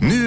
Nu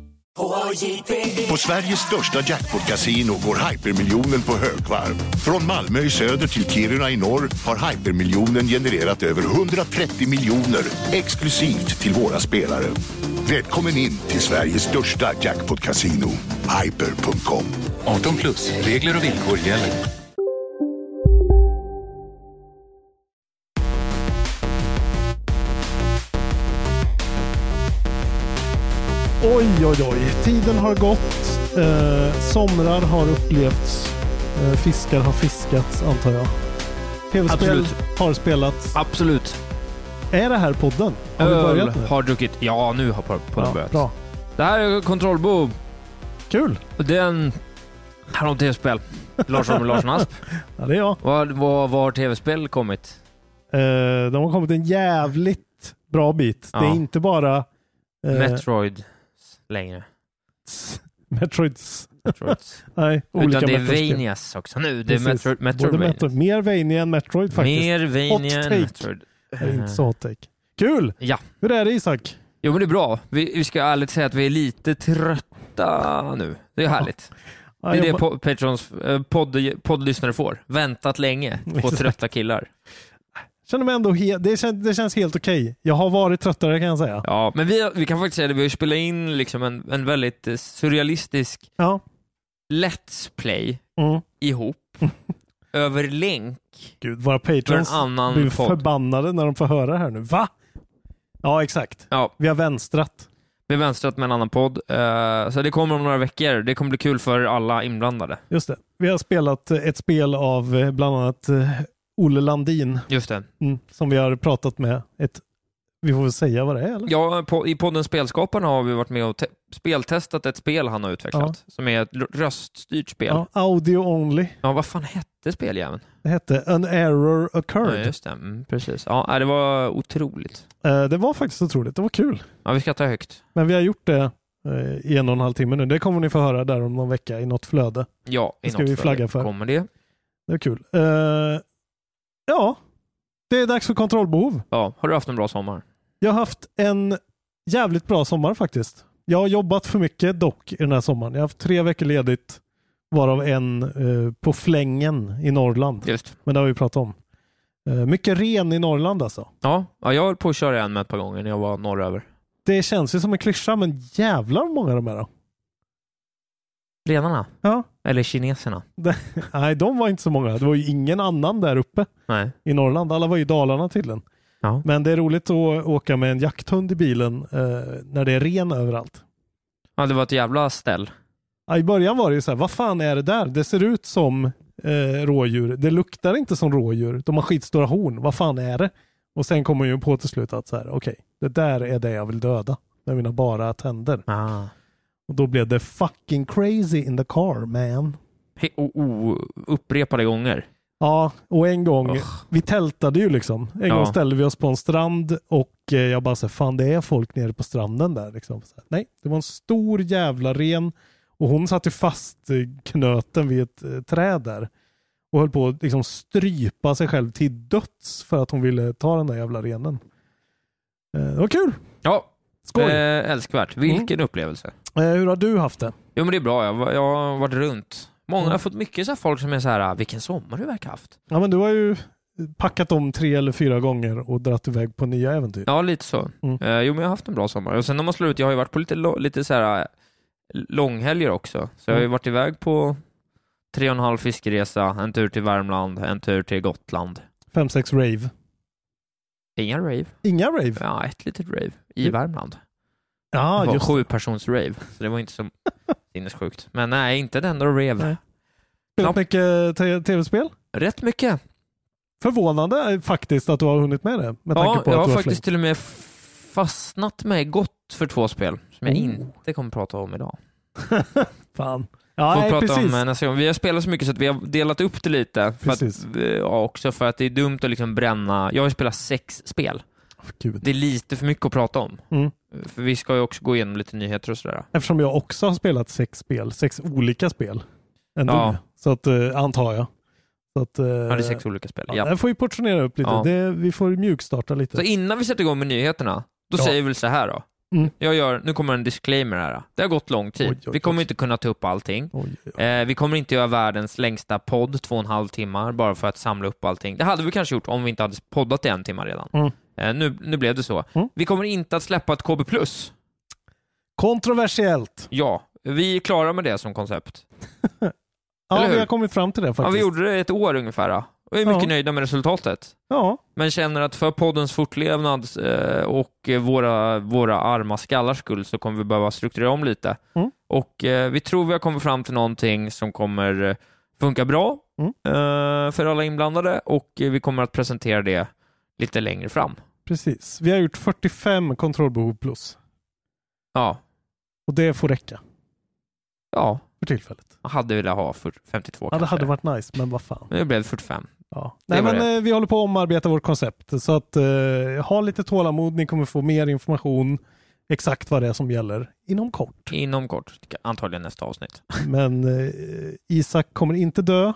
På Sveriges största jackpot-kasino går hypermiljonen på högvarv. Från Malmö i söder till Kiruna i norr har hypermiljonen genererat över 130 miljoner exklusivt till våra spelare. Välkommen in till Sveriges största jackpot-kasino, hyper.com. 18 plus, regler och villkor gäller. Oj, oj, oj. Tiden har gått. Eh, somrar har upplevts. Eh, fiskar har fiskats, antar jag. Tv-spel Absolut. har spelats. Absolut. Är det här podden? Har vi Öl börjat nu? har druckit. Ja, nu har podden Ja, börjat. Bra. Det här är kontrollbo. Kul. Den handlar om tv-spel. Lars Holm och Larsson Asp. Ja, det är jag. Var, var, var har tv-spel kommit? Eh, de har kommit en jävligt bra bit. Det är Ja. inte bara eh, Metroid längre. Metroids. Metroids. Nej, olika Utan det är Metroid-spel. Vanias också nu. Det är Precis. Metroid, Metroid Både Metro, Metroid, mer Vania än Metroid faktiskt. Mer Hot Vania take. än Metroid. Det är inte så hot take. Kul! Ja. Hur är det Isak? Jo men det är bra. Vi, vi ska ärligt säga att vi är lite trötta nu. Det är härligt. Det Ja, är det jag, po- Patrons eh, podd, poddlyssnare får. Väntat länge på Exakt. trötta killar. känner mig ändå he- det, kän- det känns helt okej. Jag har varit tröttare kan jag säga. Ja, men vi, har- vi kan faktiskt säga det, vi har ju spelat in liksom en, en väldigt eh, surrealistisk Ja. Let's Play Mm. ihop över länk Gud, våra för en patrons blir annan podd. förbannade när de får höra det här nu. Va? Ja, exakt. Ja, Vi har vänstrat. vi har vänstrat med en annan podd. eh, så det kommer om några veckor. Det kommer bli kul för alla inblandade. Just det. Vi har spelat eh, ett spel av eh, bland annat eh, Olle Landin Just det. mm, som vi har pratat med. Ett, vi får väl säga vad det är eller? Ja, på, I podden Spelskaparna har vi varit med och te- speltestat ett spel han har utvecklat, som är ett l- röststyrt spel. Ja, Ja, audio only. vad fan hette speljäveln? Det hette An error Ja, occurred. just det. Mm, precis. Ja, nej, det var otroligt. Eh, Det var faktiskt otroligt. Det var kul. Ja, vi skrattar högt. Men vi har gjort det eh, i en och en halv timme nu. Det kommer ni få höra där om någon vecka i något flöde. Ja, i Det ska något vi fall flagga för. Kommer det? Det är kul. Eh, ja, det är dags för kontrollbehov. Ja, har du haft en bra sommar? Jag har haft en jävligt bra sommar faktiskt. Jag har jobbat för mycket dock i den här sommaren. Jag har haft tre veckor ledigt varav en eh, på flängen i Norrland. Just. Men det har vi pratat om. Eh, mycket ren i Norrland alltså. Ja, ja jag höll på att köra en med ett par gånger när jag var norröver. Det känns ju som en klyscha men jävlar vad många de är då. Renarna? Ja. Eller kineserna? Nej, de var inte så många. Det var ju ingen annan där uppe Nej. i Norrland. Alla var ju i Dalarna tydligen. Ja. Men det är roligt att åka med en jakthund i bilen eh, när det är ren överallt. ja, det var ett jävla ställ. Ja, I början var det ju så här, vad fan är det där? Det ser ut som eh, rådjur. Det luktar inte som rådjur. De har skitstora horn. Vad fan är det? Och sen kommer ju på till slut att så här, okej, det där är det jag vill döda med mina bara tänder. Ah. Och då blev det fucking crazy in the car man. He- o- o- upprepade gånger. Ja, och en gång, Ugh. vi tältade ju liksom. En Ja. gång ställde vi oss på en strand och eh, jag bara så här, fan det är folk nere på stranden där. Liksom. Så här, nej, det var en stor jävla ren och hon satt ju fast eh, knöten vid ett eh, träd där och höll på att liksom strypa sig själv till döds för att hon ville ta den där jävla renen. Eh, Det var kul! Ja, Skoj! Eh, älskvärt. Vilken upplevelse. Eh, Hur har du haft det? Jo men det är bra, jag, var- jag har varit runt. Många, jag har Mm. fått mycket så här folk som är så här, "Ah, vilken sommar du verkar haft. Ja, men du har ju packat om tre eller fyra gånger och dragit iväg på nya äventyr. Ja, lite så. Mm. Eh, jo men jag har haft en bra sommar. Och sen när man slår ut, jag har ju varit på lite, lo- lite så här eh, långhelger också. Så jag har ju Mm. varit iväg på tre och en halv fiskeresa, en tur till Värmland, en tur till Gotland. Fem, sex rave. Inga rave. Inga rave? Ja, ett litet rave i Värmland. Det Ja, var just sju persons rave, så det var inte så sinnessjukt. Men nej, inte den där Nej. rave. Spelat mycket te- tv-spel? Rätt mycket. Förvånande eh, faktiskt att du har hunnit med det. Med tanke Ja, på jag att har du har faktiskt till och med f- fastnat mig gott för två spel som jag Oh. inte kommer prata om idag. flängt. Fan. Ja, Får nej, prata precis. om eh, nästa gång. Vi har spelat så mycket så att vi har delat upp det lite. För Precis. att, eh, ja, också för att det är dumt att liksom bränna. Jag har ju spelat sex spel. Gud. Det är lite för mycket att prata om. Mm. För vi ska ju också gå igenom lite nyheter och sådär. Eftersom jag också har spelat sex spel, sex olika spel. Än Ja. du. Så att, eh, antar jag. Så att, eh, Ja, det är sex olika spel. ja, Ja. Jag får ju portionera upp lite. Ja. Det, vi får mjukstarta lite. Så innan vi sätter igång med nyheterna, då Ja. säger vi väl så här då. Mm. Jag gör, nu kommer en disclaimer här. Det har gått lång tid. Oj, oj, vi kommer oj. inte kunna ta upp allting. Oj, oj, oj. Eh, vi kommer inte göra världens längsta podd, två och en halv timmar, bara för att samla upp allting. Det hade vi kanske gjort om vi inte hade poddat i en timme redan. Mm. Eh, nu, nu blev det så. Mm. Vi kommer inte att släppa ett KB+. Kontroversiellt. Ja, vi är klara med det som koncept. Ja, Eller hur? vi har kommit fram till det faktiskt. Ja, vi gjorde det i ett år ungefär ja. och är mycket Ja. nöjda med resultatet. Ja, Men känner att för poddens fortlevnad eh, och eh, våra, våra arma skallars skull så kommer vi behöva strukturera om lite. Mm. Och eh, vi tror vi har kommit fram till någonting som kommer eh, funka bra Mm. eh, för alla inblandade och eh, vi kommer att presentera det lite längre fram. precis. Vi har gjort 45 kontrollbehov plus. Ja, Och det får räcka ja för tillfället. jag hade velat ha för 52 Ja, det kanske. hade varit nice, men vad fan. Men det blev 45. Ja. Det Nej, var men eh, vi håller på att omarbeta vårt koncept. Så att eh, ha lite tålamod. Ni kommer få mer information exakt vad det är som gäller inom kort. Inom kort, antagligen nästa avsnitt. Men eh, Isak kommer inte dö.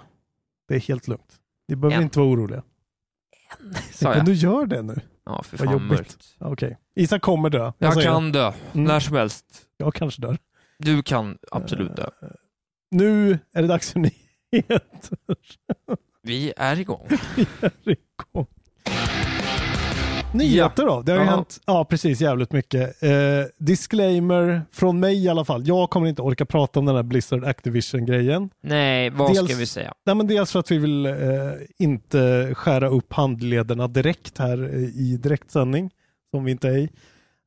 Det är helt lugnt. Ni behöver Än. inte vara oroliga. Sa Tänk om jag. du gör det nu. Ja, för Vad fan jobbigt. mörkt. Ja, Okej. Isak kommer dö. Jag, Jag säger kan dö, Mm. när som helst. det. jag kanske dör. Du kan absolut dö. Eh, Nu är det dags för nyheter. Vi är igång. Vi är igång. Nyheter då. Det har ju Ja. hänt, ja precis, jävligt mycket. Eh, disclaimer från mig i alla fall. Jag kommer inte orka prata om den här Blizzard Activision-grejen. Nej, vad ska Dels- vi säga? Nej, men dels för att vi vill eh, inte skära upp handlederna direkt här eh, i direktsändning, som vi inte är i.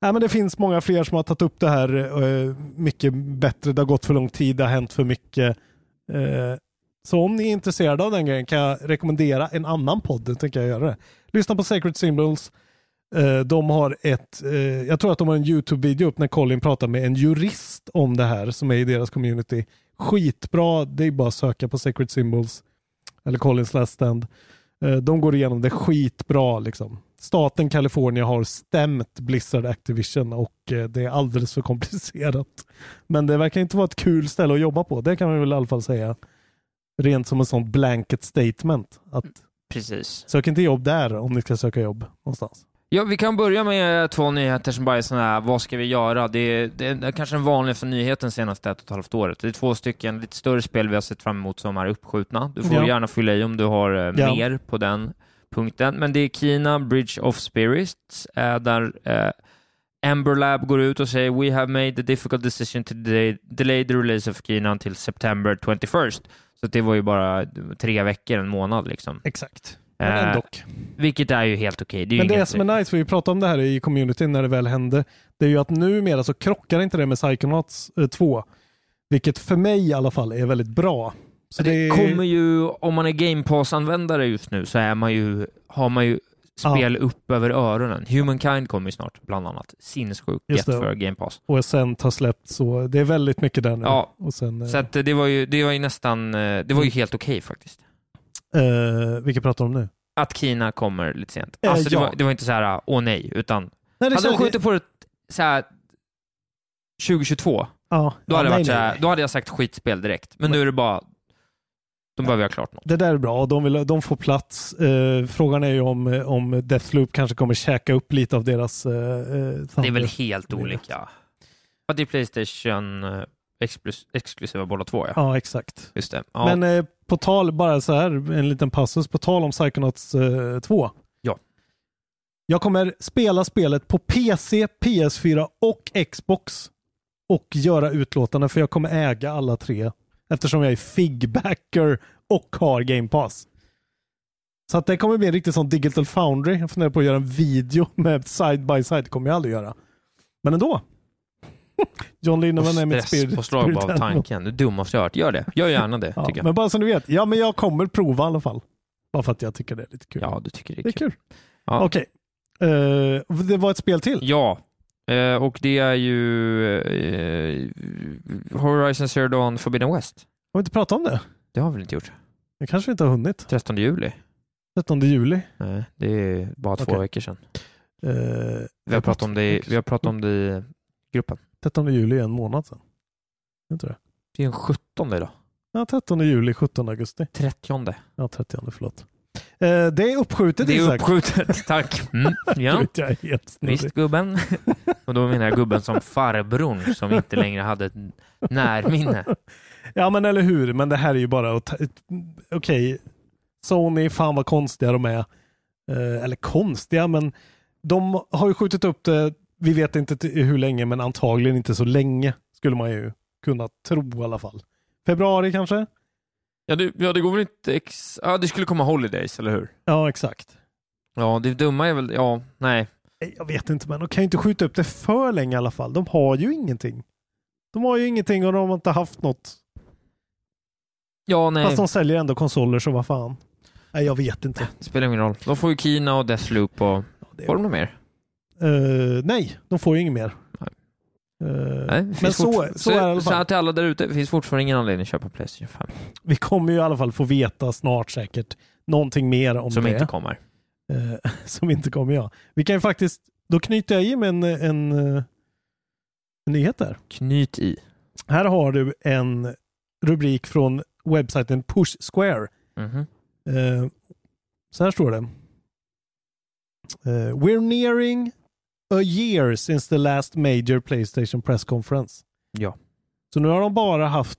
Nej, men det finns många fler som har tagit upp det här eh, mycket bättre. Det har gått för lång tid, det har hänt för mycket. Eh, så om ni är intresserade av den grejen kan jag rekommendera en annan podd. Det tänker jag göra det. Lyssna på Sacred Symbols. Eh, de har ett, eh, jag tror att de har en YouTube-video upp när Colin pratar med en jurist om det här som är i deras community. Skitbra, det är bara att söka på Sacred Symbols eller Collins Last Stand. Eh, de går igenom det skitbra liksom. Staten Kalifornien har stämt Blizzard Activision och eh, det är alldeles för komplicerat. Men det verkar inte vara ett kul ställe att jobba på, det kan man väl i alla fall säga. Rent som en sån blanket statement. Att Precis. sök inte jobb där om ni ska söka jobb någonstans. Ja, vi kan börja med två nyheter som bara är sådana här, vad ska vi göra? Det är, det är kanske den vanligaste nyheten senaste ett och ett halvt året. Det är två stycken lite större spel vi har sett fram emot som är uppskjutna. Du får Ja. gärna fylla i om du har eh, Ja. mer på den punkten. Men det är Kina Bridge of Spirits, eh, där eh, Amber Lab går ut och säger “We have made the difficult decision to delay, delay the release of Kina till September 21st”. Så det var ju bara tre veckor, en månad liksom. Exakt. Eh, Men ändå. Vilket är ju helt okej. Det är ju Men det inget- som är nice, för vi pratade om det här i communityn när det väl hände, det är ju att numera så krockar inte det med Psychonauts eh, 2. Vilket för mig i alla fall är väldigt bra. Så Alltså, det, är- kommer ju, om man är Game Pass-användare just nu så är man ju, har man ju spel upp över öronen. Humankind kommer ju snart, bland annat. Sinnessjukt Just det. för Game Pass. Och sen har släppt så det är väldigt mycket där nu. Ja. Och sen, eh, Så att eh, det var ju, det var ju nästan, eh, det var ju helt okej faktiskt. eh, vilka pratar de om nu? Att Kina kommer lite sent. Eh, Alltså det, ja. var, det var inte så här, åh nej, utan Nej, det hade de känns- skjutit på det så här 2022, ja. då hade, ja, nej, det varit så nej, här, nej. då hade jag sagt skitspel direkt. Men nu är det bara, de behöver göra klart något. Det där är bra. De, vill, de får plats. Eh, frågan är ju om, eh, om Deathloop kanske kommer käka upp lite av deras... Eh, Det är väl helt det är olika. Ja, det är Playstation eh, exklus- exklusiva båda två, ja. Ja, exakt. Just det. Ja. Men eh, på tal, bara så här, en liten passus, på tal om Psychonauts eh, 2. Ja. Jag kommer spela spelet på PC, PS4 och Xbox och göra utlåtande för jag kommer äga alla tre eftersom jag är figbacker och har Game Pass. Så att det kommer bli en riktig sån digital foundry. Jag funderar på att göra en video med side by side. Det kommer jag aldrig göra. Men ändå. John Linneman är mitt spirit. på slag spirit av animal. tanken. Det dummaste jag har hört. Gör det. Gör gärna det, Ja, tycker jag. men bara så ni vet. Ja, men jag kommer prova i alla fall. Bara för att jag tycker det är lite kul. Ja, du tycker det är det är kul. kul. Ja. Okej. Eh, det var ett spel till. Ja, eh, och det är ju eh, Horizon Zero Dawn Forbidden West. Har vi inte pratat om det? Det har vi väl inte gjort? Det kanske vi inte har hunnit. 13 juli? 13 juli. Nej, det är bara två Okej. veckor sedan. Eh, Vi har pratat om det, i- vi har pratat om det i gruppen. 13 juli är en månad sedan. Jag tror det. Det är den 17 idag. Ja, 13 juli, 17 augusti. 30. Ja, 30 förlåt. Eh, det är uppskjutet Det är Isak. uppskjutet. Tack. Mm, ja. Gud, Jag är helt snurrig. Visst gubben? Och då menar jag gubben som farbrorn som inte längre hade ett närminne. Ja men eller hur, men det här är ju bara att... ta- Okej, Sony, fan vad konstiga de är. Eh, eller konstiga, men de har ju skjutit upp det, vi vet inte till- hur länge, men antagligen inte så länge skulle man ju kunna tro i alla fall. Februari kanske? Ja det, ja, det går väl inte ex... Ja, det skulle komma Holidays, eller hur? Ja, exakt. Ja, det dumma är väl... Ja, nej. Nej, Jag vet inte, men de kan ju inte skjuta upp det för länge i alla fall. De har ju ingenting. De har ju ingenting och de har inte haft något. Ja, nej. Fast de säljer ändå konsoler, så vad fan. Nej, jag vet inte. Det spelar ingen roll. De får ju Kina och Deathloop och... Ja, det är- Får de något mer? Eh, nej, de får ju inget mer. Nej. Eh, Nej, det finns men så, fortfar- så är det i alla Så här fall. till alla där ute, det finns fortfarande ingen anledning att köpa Playstation 5. Vi kommer ju i alla fall få veta snart säkert någonting mer om som det. inte kommer. Eh, som inte kommer jag. Vi kan ju faktiskt, då knyter jag i med en, en, eh, en nyhet där. Knyt i. Här har du en rubrik från webbsajten Push Square. Mhm. Eh, så här står det. Eh, We're nearing a year since the last major Playstation press conference. Ja. Så nu har de bara haft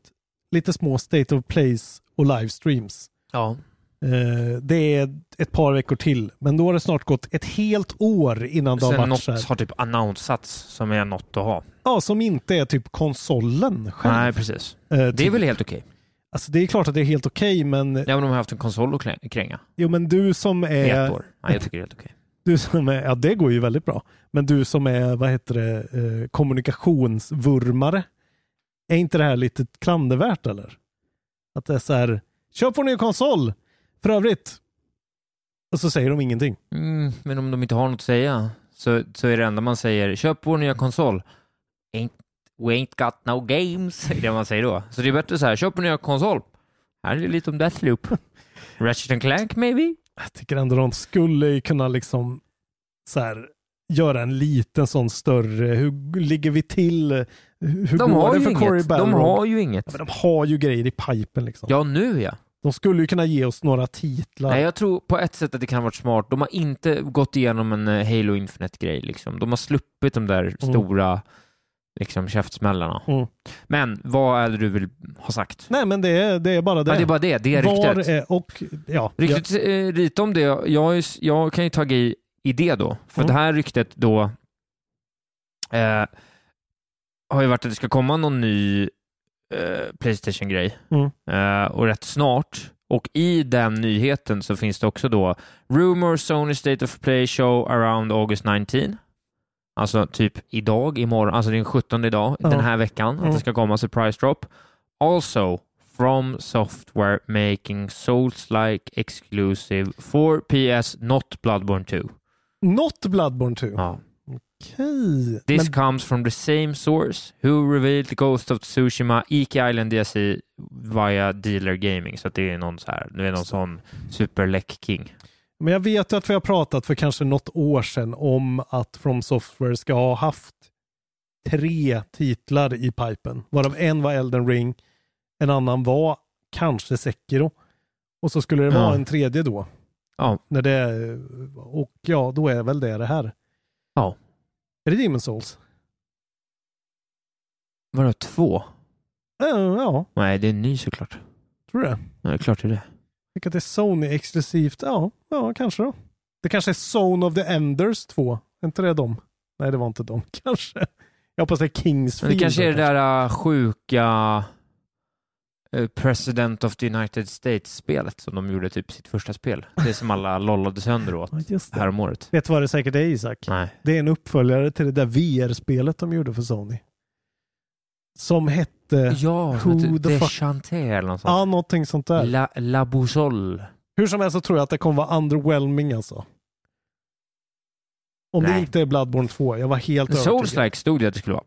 lite små State of Plays och livestreams. Ja. Eh, det är ett par veckor till, men då har det snart gått ett helt år innan de har Sen varit så här. något har typ annonsats som är något att ha. Ja, som inte är typ konsolen Nej, själv. precis. Eh, Det är typ. väl helt okej. Alltså det är klart att det är helt okej, men, Ja, men de har haft en konsol att klä- kränga jo, men du som i är... ett år. Nej, jag tycker det är helt okej. Du som är, ja det går ju väldigt bra. Men du som är, vad heter det, eh, kommunikationsvurmare. Är inte det här lite klandervärt eller? Att det är så här, köp vår nya konsol! För övrigt. Och så säger de ingenting. Mm, men om de inte har något att säga så, så är det enda man säger, köp vår nya konsol. Ain't, we ain't got no games, är det man säger då. Så det är bättre så här, köp vår nya konsol. Här är det lite om Deathloop. Ratchet and Clank maybe? Jag tycker ändå de skulle ju kunna liksom så här, göra en liten sån större, hur ligger vi till? Hur, hur De går har, det ju för Corey inget. de Barrog? har ju ja, inget. men de har ju grejer i pipen liksom. Ja, nu ja. De skulle ju kunna ge oss några titlar. Nej, jag tror på ett sätt att det kan ha varit smart. De har inte gått igenom en eh, Halo Infinite-grej. Liksom. De har sluppit de där stora liksom, käftsmällarna. Mm. Men vad är det du vill ha sagt? Nej men det är, det är bara det. Ja, det är bara det. Det är Var ryktet. är, och ja, Ryktet eh, rita om det. Jag, är s- jag kan ju ta i, i det då. För Mm. det här ryktet då eh, har ju varit att det ska komma någon ny eh, Playstation-grej. Mm. Eh, och rätt snart. Och i den nyheten så finns det också då Rumor Sony State of Play Show around August 19. Alltså typ idag, imorgon, alltså det är den 17 idag, Ja. den här veckan, att Mm. det ska komma surprise drop. Also from software making Souls-like exclusive for PS, not Bloodborne 2. ja. Not Bloodborne 2. Ja. Okej. This Men, comes from the same source who revealed the Ghost of Tsushima, Ike Island DLC via Dealer Gaming. Så att det är någon, så här, det är någon sån superläck king. men jag vet ju att vi har pratat för kanske något år sedan om att From Software ska ha haft tre titlar i pipen. Varav en var Elden Ring, en annan var kanske Sekiro. Och så skulle det Ja. vara en tredje då. Ja. När det, och ja, då är väl det det här. Ja. Är det Demon Souls? Vadå två? Ja, Eh, ja Nej, det är en ny såklart. tror det. Ja, det är klart det är det. Tycker att det är Sony exklusivt? Ja, ja kanske då. Det kanske är Zone of the Enders 2. Är inte det dem? Nej, det var inte dem kanske. Jag hoppas det är Men det Kingsfield. kanske är det där äh, sjuka eh, President of the United States-spelet som de gjorde typ sitt första spel. Det som alla lollade sönder åt Ja, just det. häromåret. Vet du vad det säkert är Isak? Nej. Det är en uppföljare till det där VR-spelet de gjorde för Sony. Som hette... Ja, Who det- the det är fuck- Chanté eller något sånt. Ja, någonting sånt där. La, La Boussole. Hur som helst så tror jag att det kommer vara underwhelming alltså. Om det Nej. inte är Bloodborne 2. Jag var helt övertygad. Souls-like stod det att det skulle vara.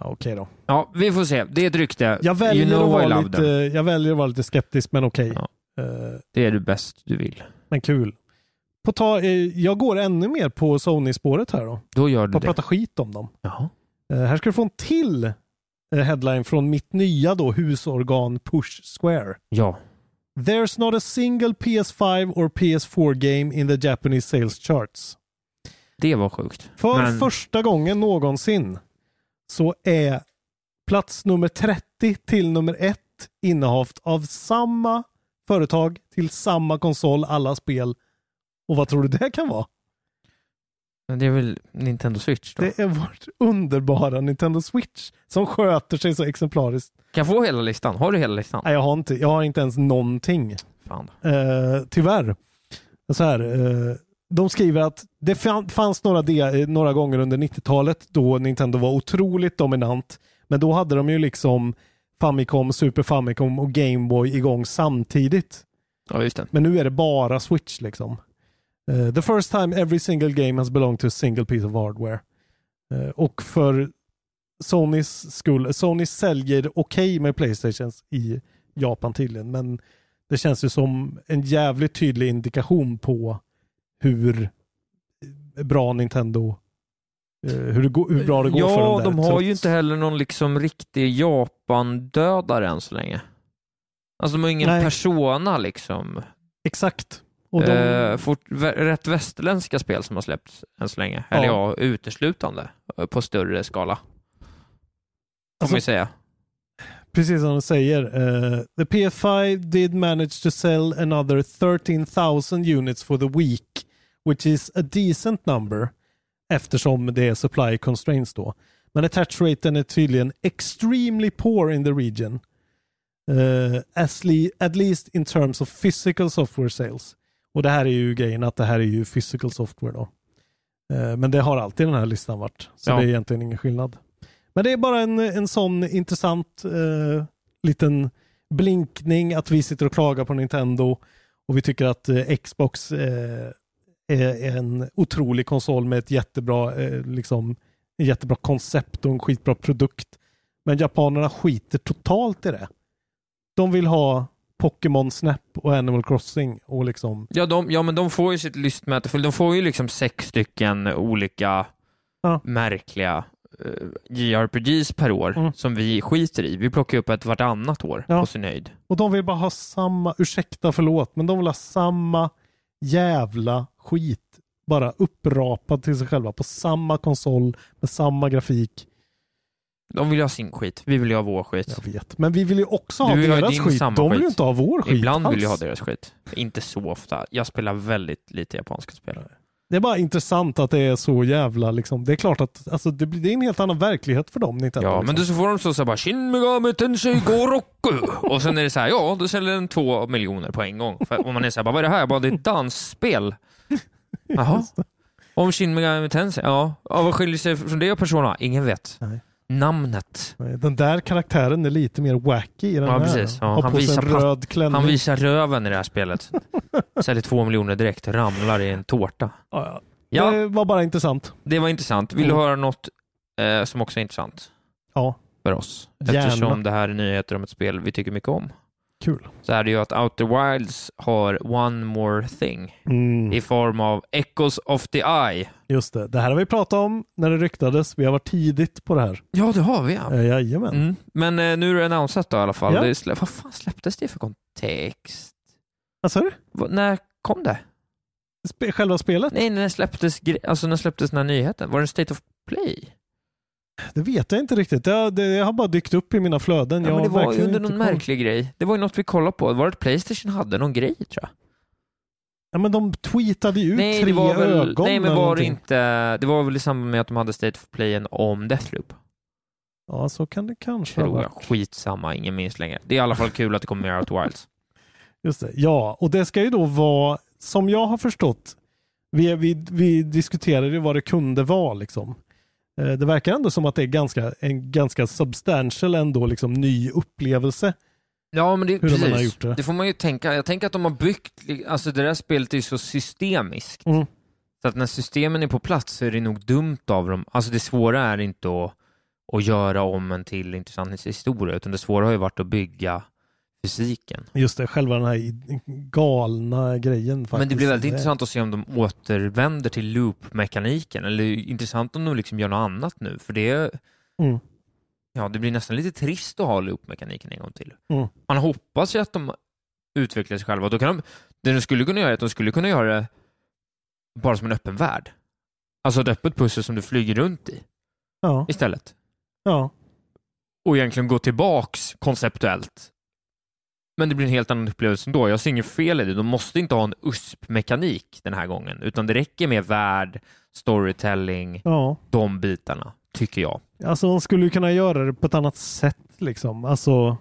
Ja, Okej då. Ja, vi får se. Det är ett rykte. Jag väljer, you know att I vara love lite, them. jag väljer att vara lite skeptisk, men okej. Ja. Eh, Det är du bäst du vill. men kul. På ta, eh, jag går ännu mer på Sony-spåret här då. Då gör du På att det. prata skit om dem. Jaha. Eh, här ska du få en till eh, headline från mitt nya då husorgan Push Square. Ja. There's not a single PS5 or PS4 game in the Japanese sales charts. Det var sjukt. För Men- första gången någonsin så är plats nummer 30 till nummer 1 innehavt av samma företag till samma konsol, alla spel. Och vad tror du det kan vara? Men det är väl Nintendo Switch då? Det är vårt underbara Nintendo Switch som sköter sig så exemplariskt. Kan jag få hela listan? Har du hela listan? Nej, jag har inte, jag har inte ens någonting. Fan. Eh, tyvärr. Så här, eh, de skriver att det fan- fanns några, de, eh, några gånger under 90-talet då Nintendo var otroligt dominant. Men då hade de ju liksom Famicom, Super Famicom och Game Boy igång samtidigt. Ja, just det. Men nu är det bara Switch liksom. Eh, the first time every single game has belonged to a single piece of hardware. Eh, och för Sonys skull, Sony säljer okej med Playstations i Japan tydligen, men det känns ju som en jävligt tydlig indikation på hur bra Nintendo, eh, hur, det går, hur bra det går ja, för dem där. de har ju trots- inte heller någon liksom riktig Japan-dödare än så länge. Alltså de har ingen Nej. persona liksom. Exakt. Och de, Eh, fort, vä- rätt västerländska spel som har släppts än så länge. Eller ja, uteslutande eh, på större skala. Får Alltså- man ju säga. precis som de säger, eh, the PS5 did manage to sell another 13,000 units for the week, which is a decent number, eftersom det är supply constraints då. Men attach raten är tydligen extremely poor in the region, eh, as le- at least in terms of physical software sales. Och det här är ju grejen att det här är ju physical software då. Eh, Men det har alltid den här listan varit, så Ja. det är egentligen ingen skillnad. Men det är bara en, en sån intressant eh, liten blinkning att vi sitter och klagar på Nintendo och vi tycker att eh, Xbox eh, är en otrolig konsol med ett jättebra, eh, liksom, ett jättebra koncept och en skitbra produkt. Men japanerna skiter totalt i det. De vill ha Pokémon Snap och Animal Crossing och liksom, Ja, de, ja, men de får ju sitt lystmäte fullt. De får ju liksom sex stycken olika Ja. märkliga eh, JRPGs per år Mm. som vi skiter i. Vi plockar upp ett vartannat år Ja. på sin höjd. och de vill bara ha samma, ursäkta förlåt, men de vill ha samma jävla skit bara upprapad till sig själva på samma konsol med samma grafik. De vill ju ha sin skit, vi vill ju ha vår skit. Jag vet, men vi vill ju också ha Du vill ha deras din skit. samma De vill ju skit. inte ha vår skit Ibland vill jag ha alls. deras skit. Inte så ofta. Jag spelar väldigt lite japanska spel. Det är bara intressant att det är så jävla liksom. Det är klart att alltså, det, blir- det är en helt annan verklighet för dem. Nintendo, Ja, liksom. men då så får de så, så här bara Shin Megami Tensei Goroku och sen är det så här, ja, då säljer den två miljoner på en gång. För, och man är så här, bara, vad är det här? Jag bara, det är ett dansspel. Jaha. Om Shin Megami Tensei? Ja. ja. Vad skiljer sig från det och Persona? Ingen vet. Nej. Namnet. Nej, Den där karaktären är lite mer wacky i den Ja, här. precis. Ja, har han på sig visar en patt- röd klänning. Han visar röven i det här spelet. Säljer två miljoner direkt, ramlar i en tårta. Ja, ja. Ja, Det var bara intressant. det var intressant. Vill du Mm. höra något eh, som också är intressant Ja, för oss? Gärna. Eftersom det här är nyheter om ett spel vi tycker mycket om. kul. så är det ju att Outer Wilds har One More Thing Mm, i form av Echoes of the Eye. just det. Det här har vi pratat om när det ryktades. Vi har varit tidigt på det här. Ja, det har vi ja. Eh, jajamän. Mm. Men eh, nu är det annonsat då i alla fall. Ja. Det slä- vad fan släpptes det för kontext? Vad sa du? Va- när kom det? Spe- själva spelet? Nej, när släpptes, gre- alltså, när släpptes den här nyheten? Var det en State of Play? Det vet jag inte riktigt. Det, har- det, det har bara dykt upp i mina flöden. Ja, jag men det har var ju verkligen under inte någon koll. märklig grej. Det var ju något vi kollade på. Var det att Playstation hade någon grej tror jag? Ja, men de tweetade ju ut Nej, tre det var väl, ögon nej, men eller var det någonting. inte... Det var väl i samband med att de hade State of Playen om Deathloop? Ja, så kan det kanske ha Tror jag. varit. Skitsamma, ingen minns längre. Det är i alla fall kul att det kommer mer Out Wilds. Just det. Ja, och det ska ju då vara, som jag har förstått, vi, vi, vi diskuterade ju vad det kunde vara. Liksom. Eh, Det verkar ändå som att det är ganska, en ganska substantial ändå, liksom, ny upplevelse. Ja, men det, Hur de än har precis. gjort det. det. får man ju tänka. Jag tänker att de har byggt, alltså det där spelet är ju så systemiskt. Mm. Så att när systemen är på plats så är det nog dumt av dem. Alltså det svåra är inte att, att göra om en till intressant historia, utan det svåra har ju varit att bygga fysiken. Just det, själva den här i- galna grejen. Faktiskt. Men det blir väldigt intressant att se om de återvänder till loop-mekaniken, eller intressant om de liksom gör något annat nu, för det, Mm. ja, det blir nästan lite trist att ha loop-mekaniken en gång till. Mm. Man hoppas ju att de utvecklar sig själva. Då kan de, det de skulle kunna göra är att de skulle kunna göra det bara som en öppen värld. Alltså ett öppet pussel som du flyger runt i Ja, istället. ja. Och egentligen gå tillbaks konceptuellt. Men det blir en helt annan upplevelse ändå. Jag ser inget fel i det. De måste inte ha en USP-mekanik den här gången, utan det räcker med värld, storytelling, ja. de bitarna, tycker jag. Alltså de skulle ju kunna göra det på ett annat sätt liksom. Alltså,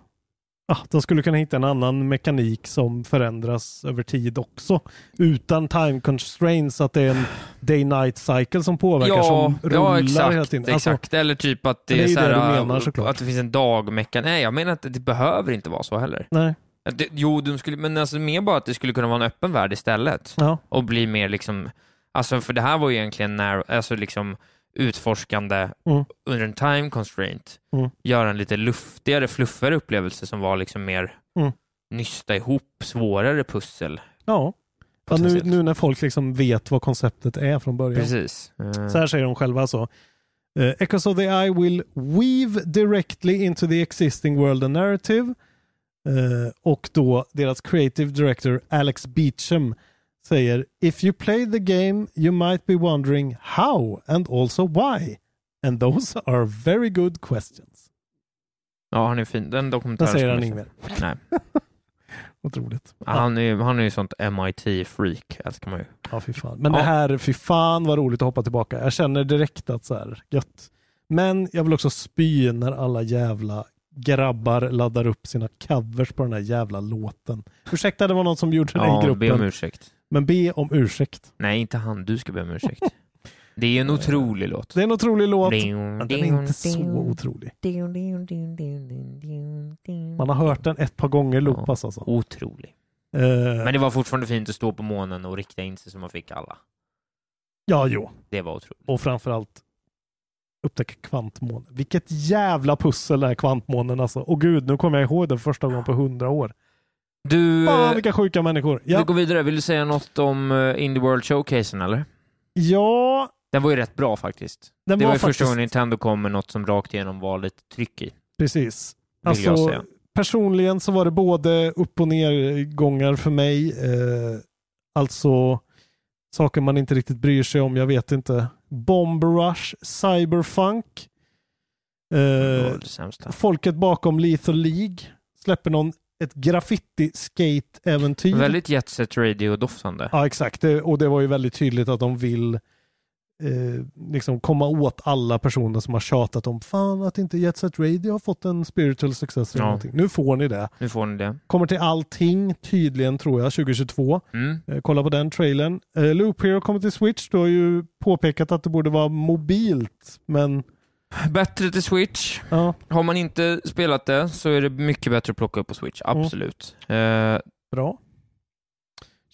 ah, de skulle kunna hitta en annan mekanik som förändras över tid också. Utan time constraints, att det är en day-night cycle som påverkar som rullar ja, exakt, hela tiden. Alltså, exakt. Eller typ att det, Men det är är ju så här, det du menar, äh, såklart. att det finns en dagmecka. Nej, jag menar att det, det behöver inte vara så heller. Nej, Att Det, jo, de skulle, men alltså mer bara att det skulle kunna vara en öppen värld istället ja, och bli mer liksom, alltså för det här var ju egentligen när, alltså liksom utforskande Mm. under en time constraint, Mm. göra en lite luftigare, fluffigare upplevelse som var liksom mer Mm. nysta ihop svårare pussel. ja. ja nu, Potentiellt. nu när folk liksom vet vad konceptet är från början. Precis. Eh, Så här säger de själva alltså. Eh, Echoes of the Eye will weave directly into the existing world and narrative. Eh, och då deras creative director Alex Beecham säger If you play the game you might be wondering how and also why. And those are very good questions. Ja, han är fin. Den Där dokumentären... säger ska han man inget mer. se. Nej. Otroligt. Han är, ju- han är ju sånt MIT-freak, älskar man ju. Ja, fy fan. Men Ja. det här, fy fan vad roligt att hoppa tillbaka. Jag känner direkt att så här, gött. Men jag vill också spy när alla jävla grabbar laddar upp sina covers på den här jävla låten. Ursäkta, det var någon som gjorde det i Ja, be om gruppen. ursäkt. men be om ursäkt. Nej, inte han. Du ska be om ursäkt. Det är ju Eh. en otrolig låt. Det är en otrolig låt, men den är inte så Otrolig. otrolig. Man har hört den ett par gånger loopas alltså. Eh, Men det var fortfarande fint att stå på månen och rikta in sig så man fick alla. Ja, jo. Det var otroligt. Och framförallt upptäcka kvantmånen. Vilket jävla pussel det här kvantmånen alltså. Och gud, nu kommer jag ihåg den första gången på hundra år. Du, Fan eh, vilka sjuka människor. vi Ja, går vidare. Vill du säga något om eh, Indie World Showcasen eller? ja Den var ju rätt bra faktiskt. den det var, var ju faktiskt... första gången Nintendo kom med något som rakt igenom var lite tryck i. Vill Precis. jag Alltså, säga. personligen så var det både upp och nedgångar för mig. Eh, alltså saker man inte riktigt bryr sig om. Jag vet inte. Bomb Rush, Cyberfunk. Det Eh, var det sämsta. folket bakom Lethal League släpper någon ett graffiti-skate-äventyr. Väldigt Jet Set Radio-doftande. Ja, exakt. Det, och det var ju väldigt tydligt att de vill eh, liksom komma åt alla personer som har tjatat om fan att inte Jet Set Radio har fått en spiritual success eller Ja. någonting. Nu får ni det. Nu får ni det. Kommer till allting tydligen tror jag 2022. Mm. Eh, kolla på den trailern. Eh, Loop Hero kommer till Switch. Du har ju påpekat att det borde vara mobilt, men Bättre till Switch. ja, Har man inte spelat det så är det mycket bättre att plocka upp på Switch, Mm. absolut. Eh, bra.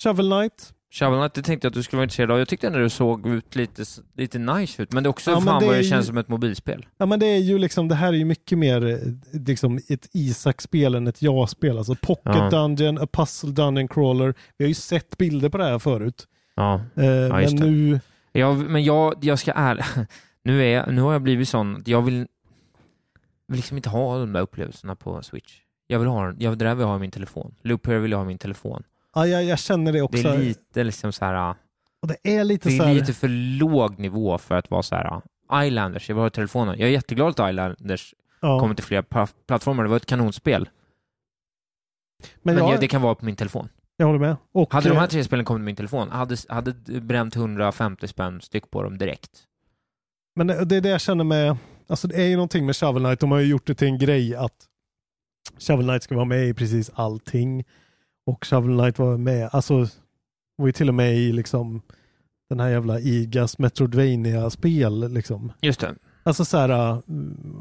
Shovel Knight. Shovel Knight, det tänkte jag att du skulle vara intresserad av. Jag tyckte ändå det såg ut lite, lite nice ut, men det är också Ja, men fan det vad är det ju- känns som ett mobilspel. Ja, men det är ju liksom, det här är ju mycket mer eh, liksom ett Isak-spel än ett ja-spel. Alltså pocket Ja. dungeon, a puzzle dungeon crawler. Vi har ju sett bilder på det här förut. Ja. Eh, just men det. nu, Jag, men jag, jag ska är nu, är jag, nu har jag blivit sån att jag vill, vill liksom inte ha de där upplevelserna på Switch. Jag vill ha den, jag, det där vill jag ha i min telefon. Loop Hero vill jag ha i min telefon. ja, jag, jag känner det också. Det är lite liksom så här, ah, och det är lite det så är här, lite för låg nivå för att vara så här, ah, Islanders, jag vill ha telefonen. Jag är jätteglad att Islanders ja. kommer till flera pa- plattformar. Det var ett kanonspel. men Men jag, jag, det kan vara på min telefon. jag håller med. Och, Hade de här eh, tre spelen kommit på min telefon, hade, hade bränt 150 spänn styck på dem direkt. Men det, det är det jag känner med Alltså det är ju någonting med Shovel Knight. De har ju gjort det till en grej att Shovel Knight ska vara med i precis allting. Och Shovel Knight var med, alltså var ju till och med i liksom den här jävla IGAS Metroidvania-spel liksom. Just det. Alltså så här,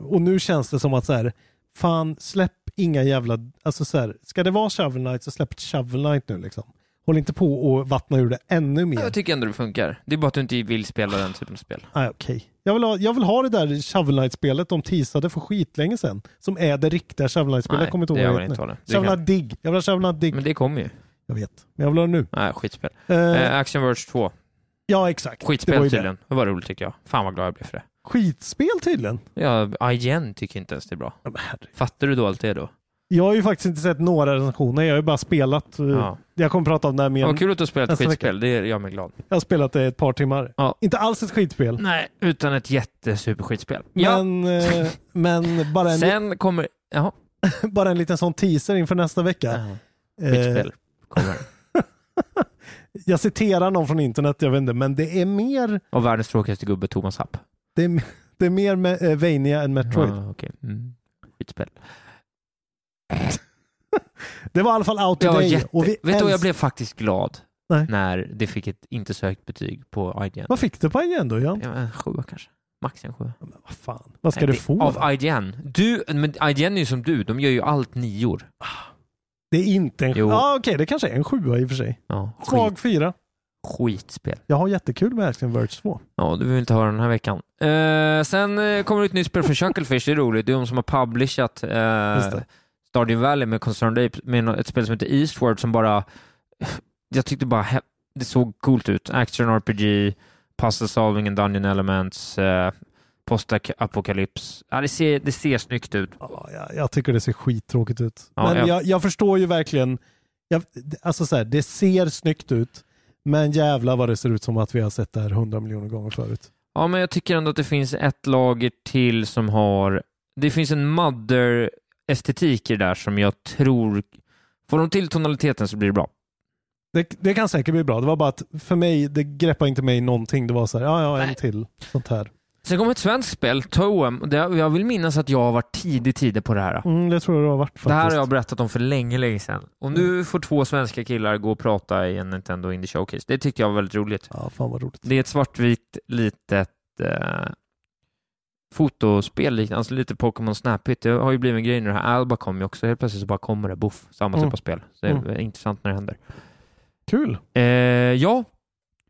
och nu känns det som att så här, fan släpp inga jävla, alltså så här, ska det vara Shovel Knight så släpp Shovel Knight nu liksom. Håll inte på och vattna ur det ännu mer. Jag tycker ändå det funkar. Det är bara att du inte vill spela den typen av spel. Nej, okej. Jag, vill ha, jag vill ha det där Shovel Knight-spelet de teasade för skitlänge sedan. Som är det riktiga Shovel Knight-spelet. Nej, Jag kommer inte det ihåg gör vad man det inte heter ha det. nu. Det Shovel kan- Knight Dig. Jag vill ha Shovel Knight Dig. Men det kommer ju. Jag vet. Men jag vill ha det nu. Nej, skitspel. Eh, Eh, Action Verge 2. ja, exakt. det Skitspel var ju tydligen. Det var roligt tycker jag. Fan vad glad jag blev för det. Det. Skitspel tydligen. Ja, IGN tycker inte ens det är bra. Ja, men herre- Fattar du då allt det då? Jag har ju faktiskt inte sett några recensioner. Jag har ju bara spelat. eh, Ja. Jag kommer prata om det här mer. Vad kul att du har spelat nästa skitspel. Det gör mig glad. Jag har spelat det ett par timmar. Ja. Inte alls ett skitspel. Nej, utan ett jättesuperskitspel. Ja, Men, eh, men bara, en, sen kommer... Jaha. bara en liten sån teaser inför nästa vecka. Skitspel Eh. kommer. jag citerar någon från internet, jag vet inte, men det är mer Och världens tråkigaste gubbe, Thomas Happ. Det är, det är mer med, eh, Vania än Metroid. Ja, okej. Mm. Skitspel. Det var i alla fall out Det var today. jätte... och vi Vet du vad, älsk- jag blev faktiskt glad Nej. när det fick ett inte sökt betyg på IGN. Vad fick du på IGN då Jan? Ja, men En sjua kanske. Max en sjua. Men vad fan, vad ska Nej, du det- få? Av IGN. Du, men IGN är ju som du, de gör ju allt nior. Det är inte en sjua. Jo. Ja okej, det kanske är en sjua i och för sig. Ja, skit, Svag fyra. skitspel. Jag har jättekul med Action Verge 2. Ja, du vill inte höra den här veckan. Eh, sen eh, kommer det ett nytt spel för Chucklefish, det är roligt. Det är de som har publishat eh, Just det. Stardew Valley med Concerned Ape, med nå- ett spel som heter Eastward som bara... Jag tyckte bara he- det såg coolt ut. Action RPG, puzzle solving and dungeon elements, eh, postapokalyps. Ja, det ser, det ser snyggt ut. Ja, jag, jag tycker det ser skittråkigt ut. Ja, men ja. Jag, jag förstår ju verkligen. Jag, alltså så här, det ser snyggt ut. Men jävla vad det ser ut som att vi har sett det här hundra miljoner gånger förut. Ja, men jag tycker ändå att det finns ett lager till som har... Det finns en mother-estetik i det där som jag tror... Får de till tonaliteten så blir det bra. Det, det kan säkert bli bra. Det var bara att för mig, det greppade inte mig någonting. Det var så här, ja, ja, en till. Sånt här. Sen kommer ett svenskt spel, Toem. och det- Jag vill minnas att jag har varit tidig tidig på det här. Mm, det tror jag det har varit faktiskt. Mm. Det här har jag berättat om för länge, länge sedan. Och nu får två svenska killar gå och prata i en Nintendo Indie Showcase. Det tyckte jag var väldigt roligt. Ja, fan vad roligt. Det är ett svartvitt litet eh, fotospel, liknande, alltså lite Pokémon Snapit. Det har ju blivit en grej nu. Det här Alba kom ju också. Helt plötsligt så bara kommer det, boff, samma Mm. typ av spel. Så det är intressant när det händer. Kul. Eh, ja,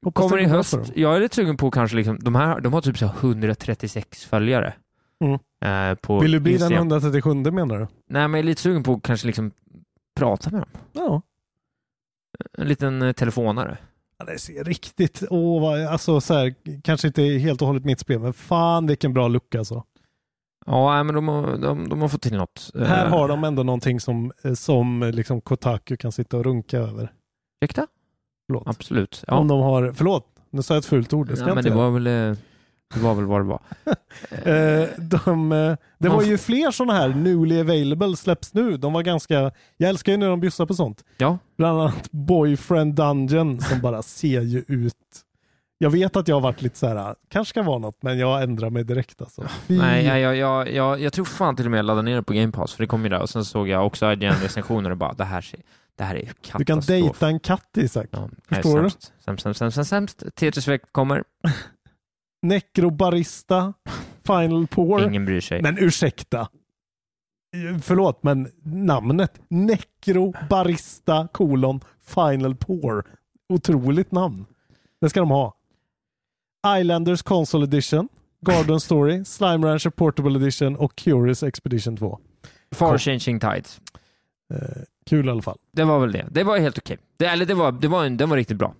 Hoppas kommer det i går bra höst. för dem. Jag är lite sugen på kanske, liksom, de här de har typ så här 136 följare. Mm. Eh, på Vill du bli den Instagram. 137 menar du? Nej, men jag är lite sugen på att kanske liksom prata med dem. Ja. En liten eh, telefonare. Ja, Det ser riktigt, åh, vad, alltså så här, kanske inte helt och hållet mitt spel, men fan vilken bra lucka alltså. Ja, nej, men de har, de, de har fått till något. Eh, Här har de ändå någonting som, som liksom Kotaku kan sitta och runka över. Ursäkta? Förlåt. Absolut. Ja. Om de har, förlåt, nu sa jag ett fult ord, det ska ja, jag men inte det göra. var väl eh, det var väl vad det var. Eh, de, eh, det Man var f- ju fler sådana här newly available släpps nu. De var ganska, jag älskar ju när de bjussar på sånt. Ja. Bland annat Boyfriend Dungeon som bara ser ju ut. Jag vet att jag har varit lite så här, "Ah, kanske ska vara något, men jag ändrar mig direkt alltså. Fy. Nej, jag, jag, jag, jag, jag tror fan till och med jag laddade ner det på Game Pass, för det kom ju där och sen såg jag också IGN-recensioner och bara det här, ser- det här är ju katastrof. du kan dejta en katt Isak. Ja, nej, Förstår du? sämst, Sämst, sämst, sämst, sämst, sämst. Tetrisväck kommer, Necrobarista, Final Pour. ingen bryr sig. Men ursäkta. Eh, Förlåt, men namnet. Necrobarista kolon Final Pour. Otroligt namn. Det ska de ha. Islanders Console Edition, Garden Story, Slime Rancher Portable Edition och Curious Expedition 2. Far Changing Tides. Eh, kul i alla fall. Det var väl det. Det var helt okej. Det, eller det var, det var, en, den var riktigt bra.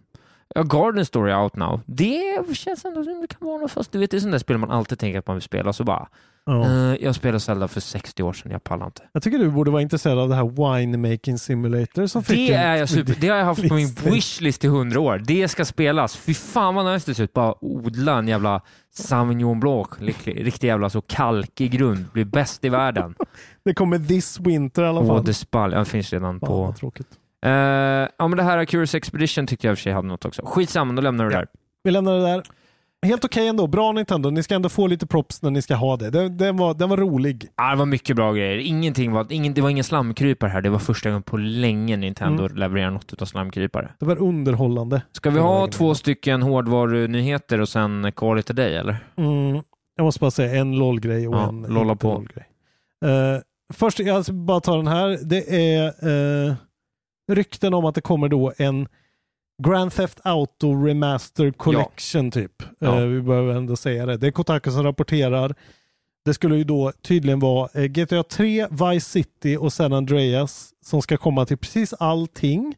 Ja, Garden Story Out Now. Det känns ändå som det kan vara något fast. Du vet, det är sånt där spel man alltid tänker att man vill spela, så bara Ja. eh, jag spelade Zelda för 60 år sedan, jag pallar inte. Jag tycker du borde vara intresserad av det här Winemaking Simulator som fick Det, en- är jag super, det har jag haft på min listing. wishlist i hundra år. Det ska spelas. Fy fan vad nice det ser ut. Bara odla en jävla Sauvignon Blanc. Lycklig- Riktig jävla så kalkig grund. Blir bäst i världen. Det kommer this winter i alla fall. Åh, det spall. Ja, det finns redan Fan, på... vad tråkigt. Eh, ja, men det här Curious Expedition tyckte jag i och för sig hade något också. Skitsamma, då lämnar vi det Vi lämnar det där. helt okej ändå. Bra Nintendo. Ni ska ändå få lite props när ni ska ha det. Den, den, var, den var rolig. Ja, Ah, det var mycket bra grejer. Ingenting var, ingen, det var ingen slamkrypare här. Det var första gången på länge Nintendo Mm. levererar något utav slamkrypare. Det var underhållande. Ska vi ha två stycken hårdvarunyheter och sen Call it a day, eller? Mm, jag måste bara säga en LOL-grej och Ja, en lolla inte på. LOL-grej. Eh, först, jag ska bara ta den här. Det är eh, rykten om att det kommer då en Grand Theft Auto Remaster Collection typ. Ja. Eh, vi behöver ändå säga det. Det är Kotaku som rapporterar. Det skulle ju då tydligen vara eh, GTA 3, Vice City och San Andreas som ska komma till precis allting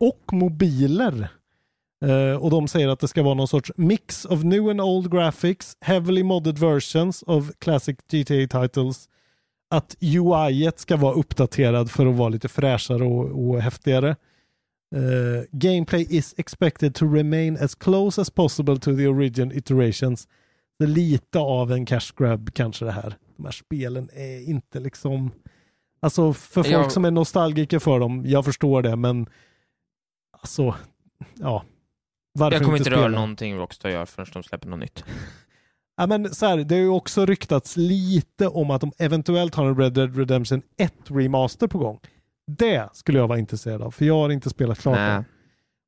och mobiler. Eh, och de säger att det ska vara någon sorts mix of new and old graphics, heavily modded versions of classic GTA titles. Att UI ska vara uppdaterad för att vara lite fräschare och, och häftigare. Eh, gameplay is expected to remain as close as possible to the original iterations. Det är lite av en cash grab kanske det här. De här spelen är inte liksom... Alltså för folk Jag- som är nostalgiker för dem, jag förstår det, men alltså, ja. Varför jag kommer inte röra spela? någonting Rockstar gör förrän de släpper något nytt. Ja, men så här, det har ju också ryktats lite om att de eventuellt har en Red Dead Redemption 1 remaster på gång. Det skulle jag vara intresserad av, för jag har inte spelat klart Nej. den.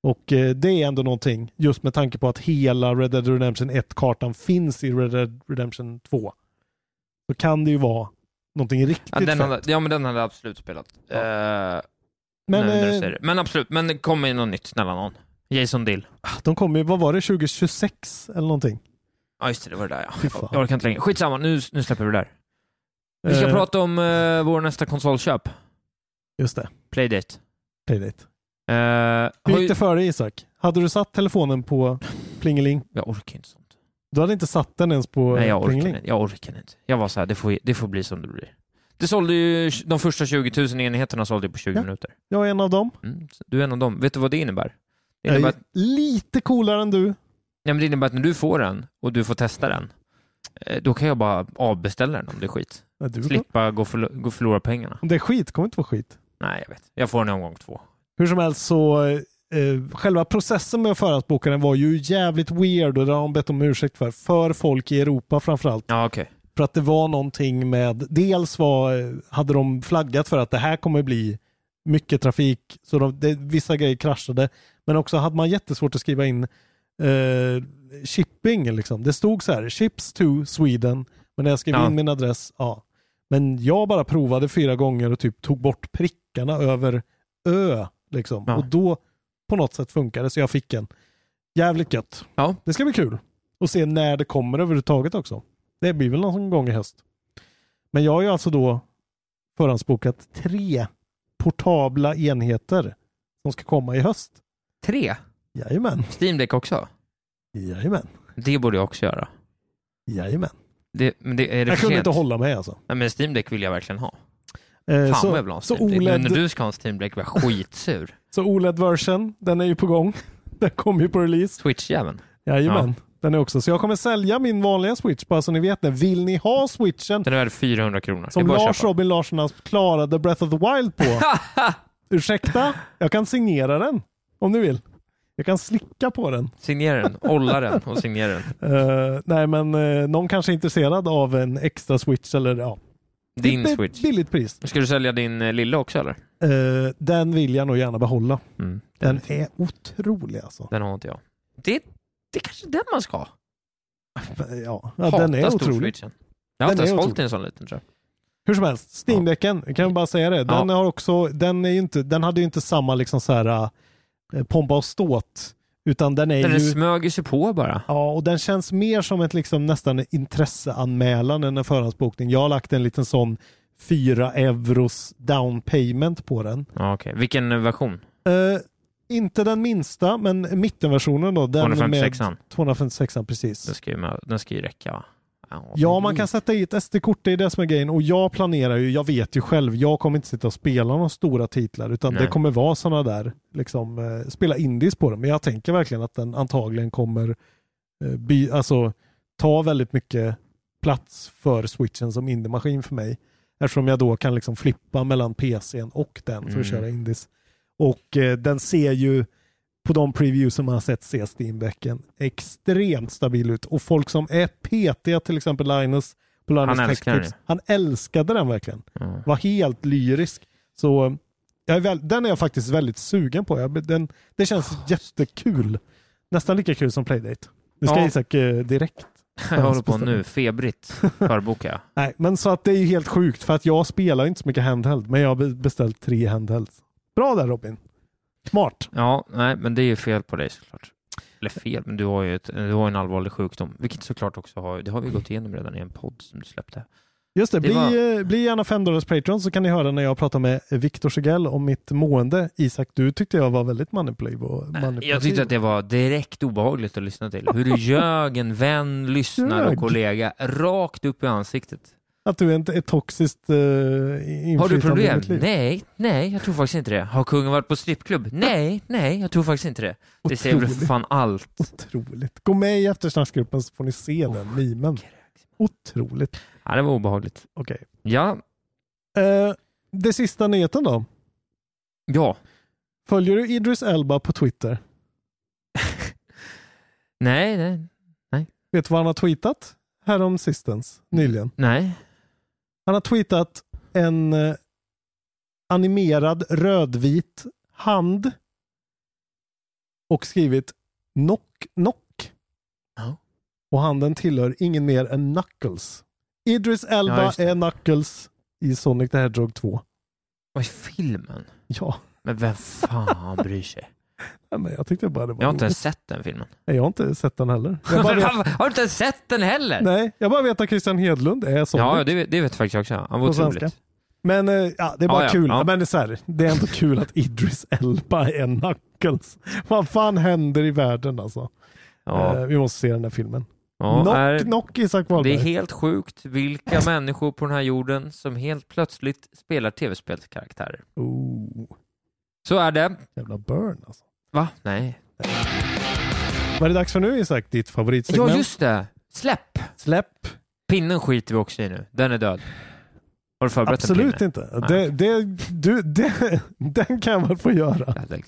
Och eh, det är ändå någonting, just med tanke på att hela Red Dead Redemption 1-kartan finns i Red Dead Redemption 2. Så kan det ju vara någonting riktigt Ja, den fett. hade, ja, men den hade jag absolut spelat. Ja. Eh, Men nu när du eh, säger det. men absolut, men det kommer in något nytt, snälla någon. Jason Dill. de kommer ju, vad var det, 2026 eller någonting? Ja, just det, det var det där ja. Fy fan. Jag orkar inte längre. Skitsamma, nu, nu släpper vi det där. Vi ska Eh, prata om uh, vår nästa konsolköp, Just det, Playdate. Playdate. Hur Eh, har ju- gick det för dig Isak? Hade du satt telefonen på plingeling? Jag orkar inte sånt. Du hade inte satt den ens på Nej, jag orkar, plingeling? inte. jag orkar inte. Jag var så här, det får, det får bli som det blir. Det sålde ju, de första 20 000 enheterna sålde ju på 20 Ja. minuter. Jag är en av dem. Mm, så du är en av dem. Vet du vad det innebär? Det Jag innebär, är att, lite coolare än du. nej, men det innebär att när du får den och du får testa den, eh, då kan jag bara avbeställa den om det är skit. Ja, du Slippa gå, förlo- gå förlora pengarna. Om det är skit kommer det inte vara skit. Nej, jag vet. Jag får den i omgång två. Hur som helst så eh, själva processen med att förhandsboka den var ju jävligt weird och det har de bett om ursäkt för. För folk i Europa framförallt. Ja, okej. För att det var någonting med, dels var, hade de flaggat för att det här kommer bli mycket trafik, så de, det, vissa grejer kraschade. Men också hade man jättesvårt att skriva in eh, shipping. Liksom. Det stod så här, ships to Sweden, men när jag skrev Ja. in min adress, ja. Men jag bara provade fyra gånger och typ tog bort prickarna över ö. Liksom. Ja. Och då på något sätt funkade så jag fick en. Jävligt gött. Ja. Det ska bli kul. Och se när det kommer överhuvudtaget också. Det blir väl någon gång i höst. Men jag har ju alltså då förhandsbokat tre portabla enheter som ska komma i höst. Tre? Jajamän. Steam Deck också? Jajamän. Det borde jag också göra. Jajamän. Det, men det, är det Jag för kunde sent? inte hålla mig alltså. Nej, men Steam Deck vill jag verkligen ha. Eh, Fan vad så, jag vill ha en så Steam Deck. Men när OLED- du ska ha en Steam Deck blir jag skitsur. så OLED-version, den är ju på gång. Den kommer ju på release. Switch-jäveln. Jajamän. Den är också. Så jag kommer sälja min vanliga switch bara så ni vet det. Vill ni ha switchen Den är värd 400 kronor. som det är bara Lars att köpa. Robin Larsson alltså klarade Breath of the Wild på? Ursäkta, jag kan signera den om ni vill. Jag kan slicka på den. Signera den, olla den och signera den. Eh, nej men eh, någon kanske är intresserad av en extra switch eller ja. Din Lite Switch. Billigt pris. Ska du sälja din eh, lilla också eller? Eh, den vill jag nog gärna behålla. Mm. Den är otrolig alltså. Den har inte jag. Det, det är kanske den man ska ha. Ja, ja den är otrolig. Switchen. Jag har Den inte är ens hållit otrolig. i en sån liten tror jag. Hur som helst, Steam-däcken, kan vi bara säga det. Den, har också, den, är ju inte, den hade ju inte samma liksom så här, eh, pompa och ståt, utan den är Den ju... är smög ju sig på bara. Ja, och den känns mer som ett liksom nästan intresseanmälan än en förhandsbokning. Jag har lagt en liten sån 4 euros down payment på den. Ja, okej. Vilken eh, version? Eh, inte den minsta, men mittenversionen då. Den 256an? med 256 precis. Den ska ju, med- den ska ju räcka va? Ja, man kan sätta i ett SD-kort, det är det som är grejen. Och jag planerar ju, jag vet ju själv, jag kommer inte sitta och spela några stora titlar utan Nej. det kommer vara sådana där, liksom, eh, spela indies på dem. Men jag tänker verkligen att den antagligen kommer eh, by, alltså, ta väldigt mycket plats för switchen som indiemaskin för mig. Eftersom jag då kan liksom flippa mellan PCn och den för att Mm. köra indies. Och eh, den ser ju på de previews som man har sett se Steambacken extremt stabil ut. Och folk som är petiga, till exempel Linus på Linus Han Tech älskar Tips, han älskade den verkligen. Var helt lyrisk. Så jag är väl, den är jag faktiskt väldigt sugen på. Jag, den, det känns Ah. jättekul. Nästan lika kul som Playdate. Nu ska Ja. Isak eh, direkt. Jag håller på nu, febrigt förbokar jag. Nej, men så att det är ju helt sjukt för att jag spelar ju inte så mycket handheld, men jag har be- beställt tre handhelds. Bra där Robin. Smart. Ja, nej, men det är ju fel på dig såklart. Eller fel, men du har ju ett, du har en allvarlig sjukdom, vilket såklart också har, det har vi gått igenom redan i en podd som du släppte. Just det, Det bli, var- eh, bli gärna 5 dollars Patreon så kan ni höra när jag pratar med Viktor Segell om mitt mående. Isak, du tyckte jag var väldigt manipulativ. Och manipulativ. Jag tyckte att det var direkt obehagligt att lyssna till. Hur du ljög en vän, lyssnare och Ljög. kollega rakt upp i ansiktet. Att du inte är toxiskt uh, inflytande Har du i problem? mitt liv. Nej, nej, jag tror faktiskt inte det. Har kungen varit på strippklubb? Nej, nej, jag tror faktiskt inte det. Det säger väl för Otroligt. fan allt. Otroligt. Gå med i eftersnacksgruppen så får ni se den mimen. Otroligt. Ja, det var obehagligt. Okej. Ja, Eh, det sista nyheten då. ja, Följer du Idris Elba på Twitter? nej, nej, Vet du vad han har tweetat härom sistens? Nyligen. nej. Han har tweetat en eh, animerad rödvit hand och skrivit knock knock. Ja. Och handen tillhör ingen mer än Knuckles. Idris Ja, Elba just det. är Knuckles i Sonic the Hedgehog 2. Vad är filmen? Ja, Men vem fan bryr sig? nej, men jag tyckte bara det var Jag har inte ens roligt. sett den filmen. Nej, jag har inte sett den heller. Jag bara vet, har du inte ens sett den heller? nej, jag bara vet att Christian Hedlund är Sonic. ja, det, vet- det vet faktiskt jag också. Han var På svenska. otroligt. Men eh, ja, det är bara Ja, ja, kul. ja. Men det är, så här, det är ändå kul att Idris Elba är Knuckles. Vad fan händer i världen alltså? Eh, Ja, vi måste se den här filmen. ja, knock, är- knock Isak det Wahlberg. är helt sjukt vilka människor på den här jorden som helt plötsligt spelar tv-spelskaraktärer. oh, Så är det. jävla burn alltså. Va? Nej. Vad är det dags för nu Isak? Ditt favoritsegment? Ja, just det. Släpp! Släpp. Pinnen skiter vi också i nu. Den är död. Har du förberett Absolut en inte. Det, det, du, det, den kan man få göra. Absolut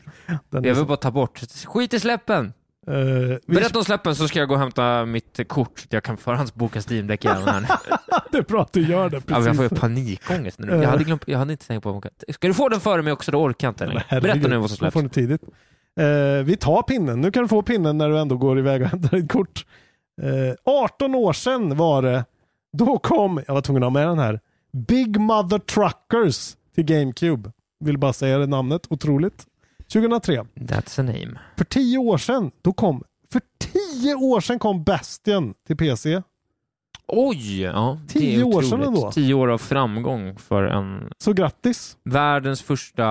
Den är Jag vill så- bara ta bort. Skit i släppen! eh, vi, Berätta om släppen så ska jag gå och hämta mitt kort så jag kan förhandsboka Steam-däck igen här. det är bra att du gör det. Ja, men jag Precis. får ju panikångest nu. Jag hade, glömt, jag hade inte tänkt på att Ska du få den före mig också? Då orkar jag inte Men längre. herregud, Berätta nu vad som då släpps. Får ni tidigt. Eh, vi tar pinnen. Nu kan du få pinnen när du ändå går iväg och hämtar ditt kort. Eh, 18 år sedan var det. Då kom, jag var tvungen att ha med den här, Big Mother Truckers till GameCube. Vill bara säga det namnet, otroligt. 2003. That's a name. För 10 år sedan, då kom, för 10 år sedan kom Bastion till PC. Oj! Ja, det är Tio år otroligt. sedan ändå. Tio år av framgång för en Så grattis. världens första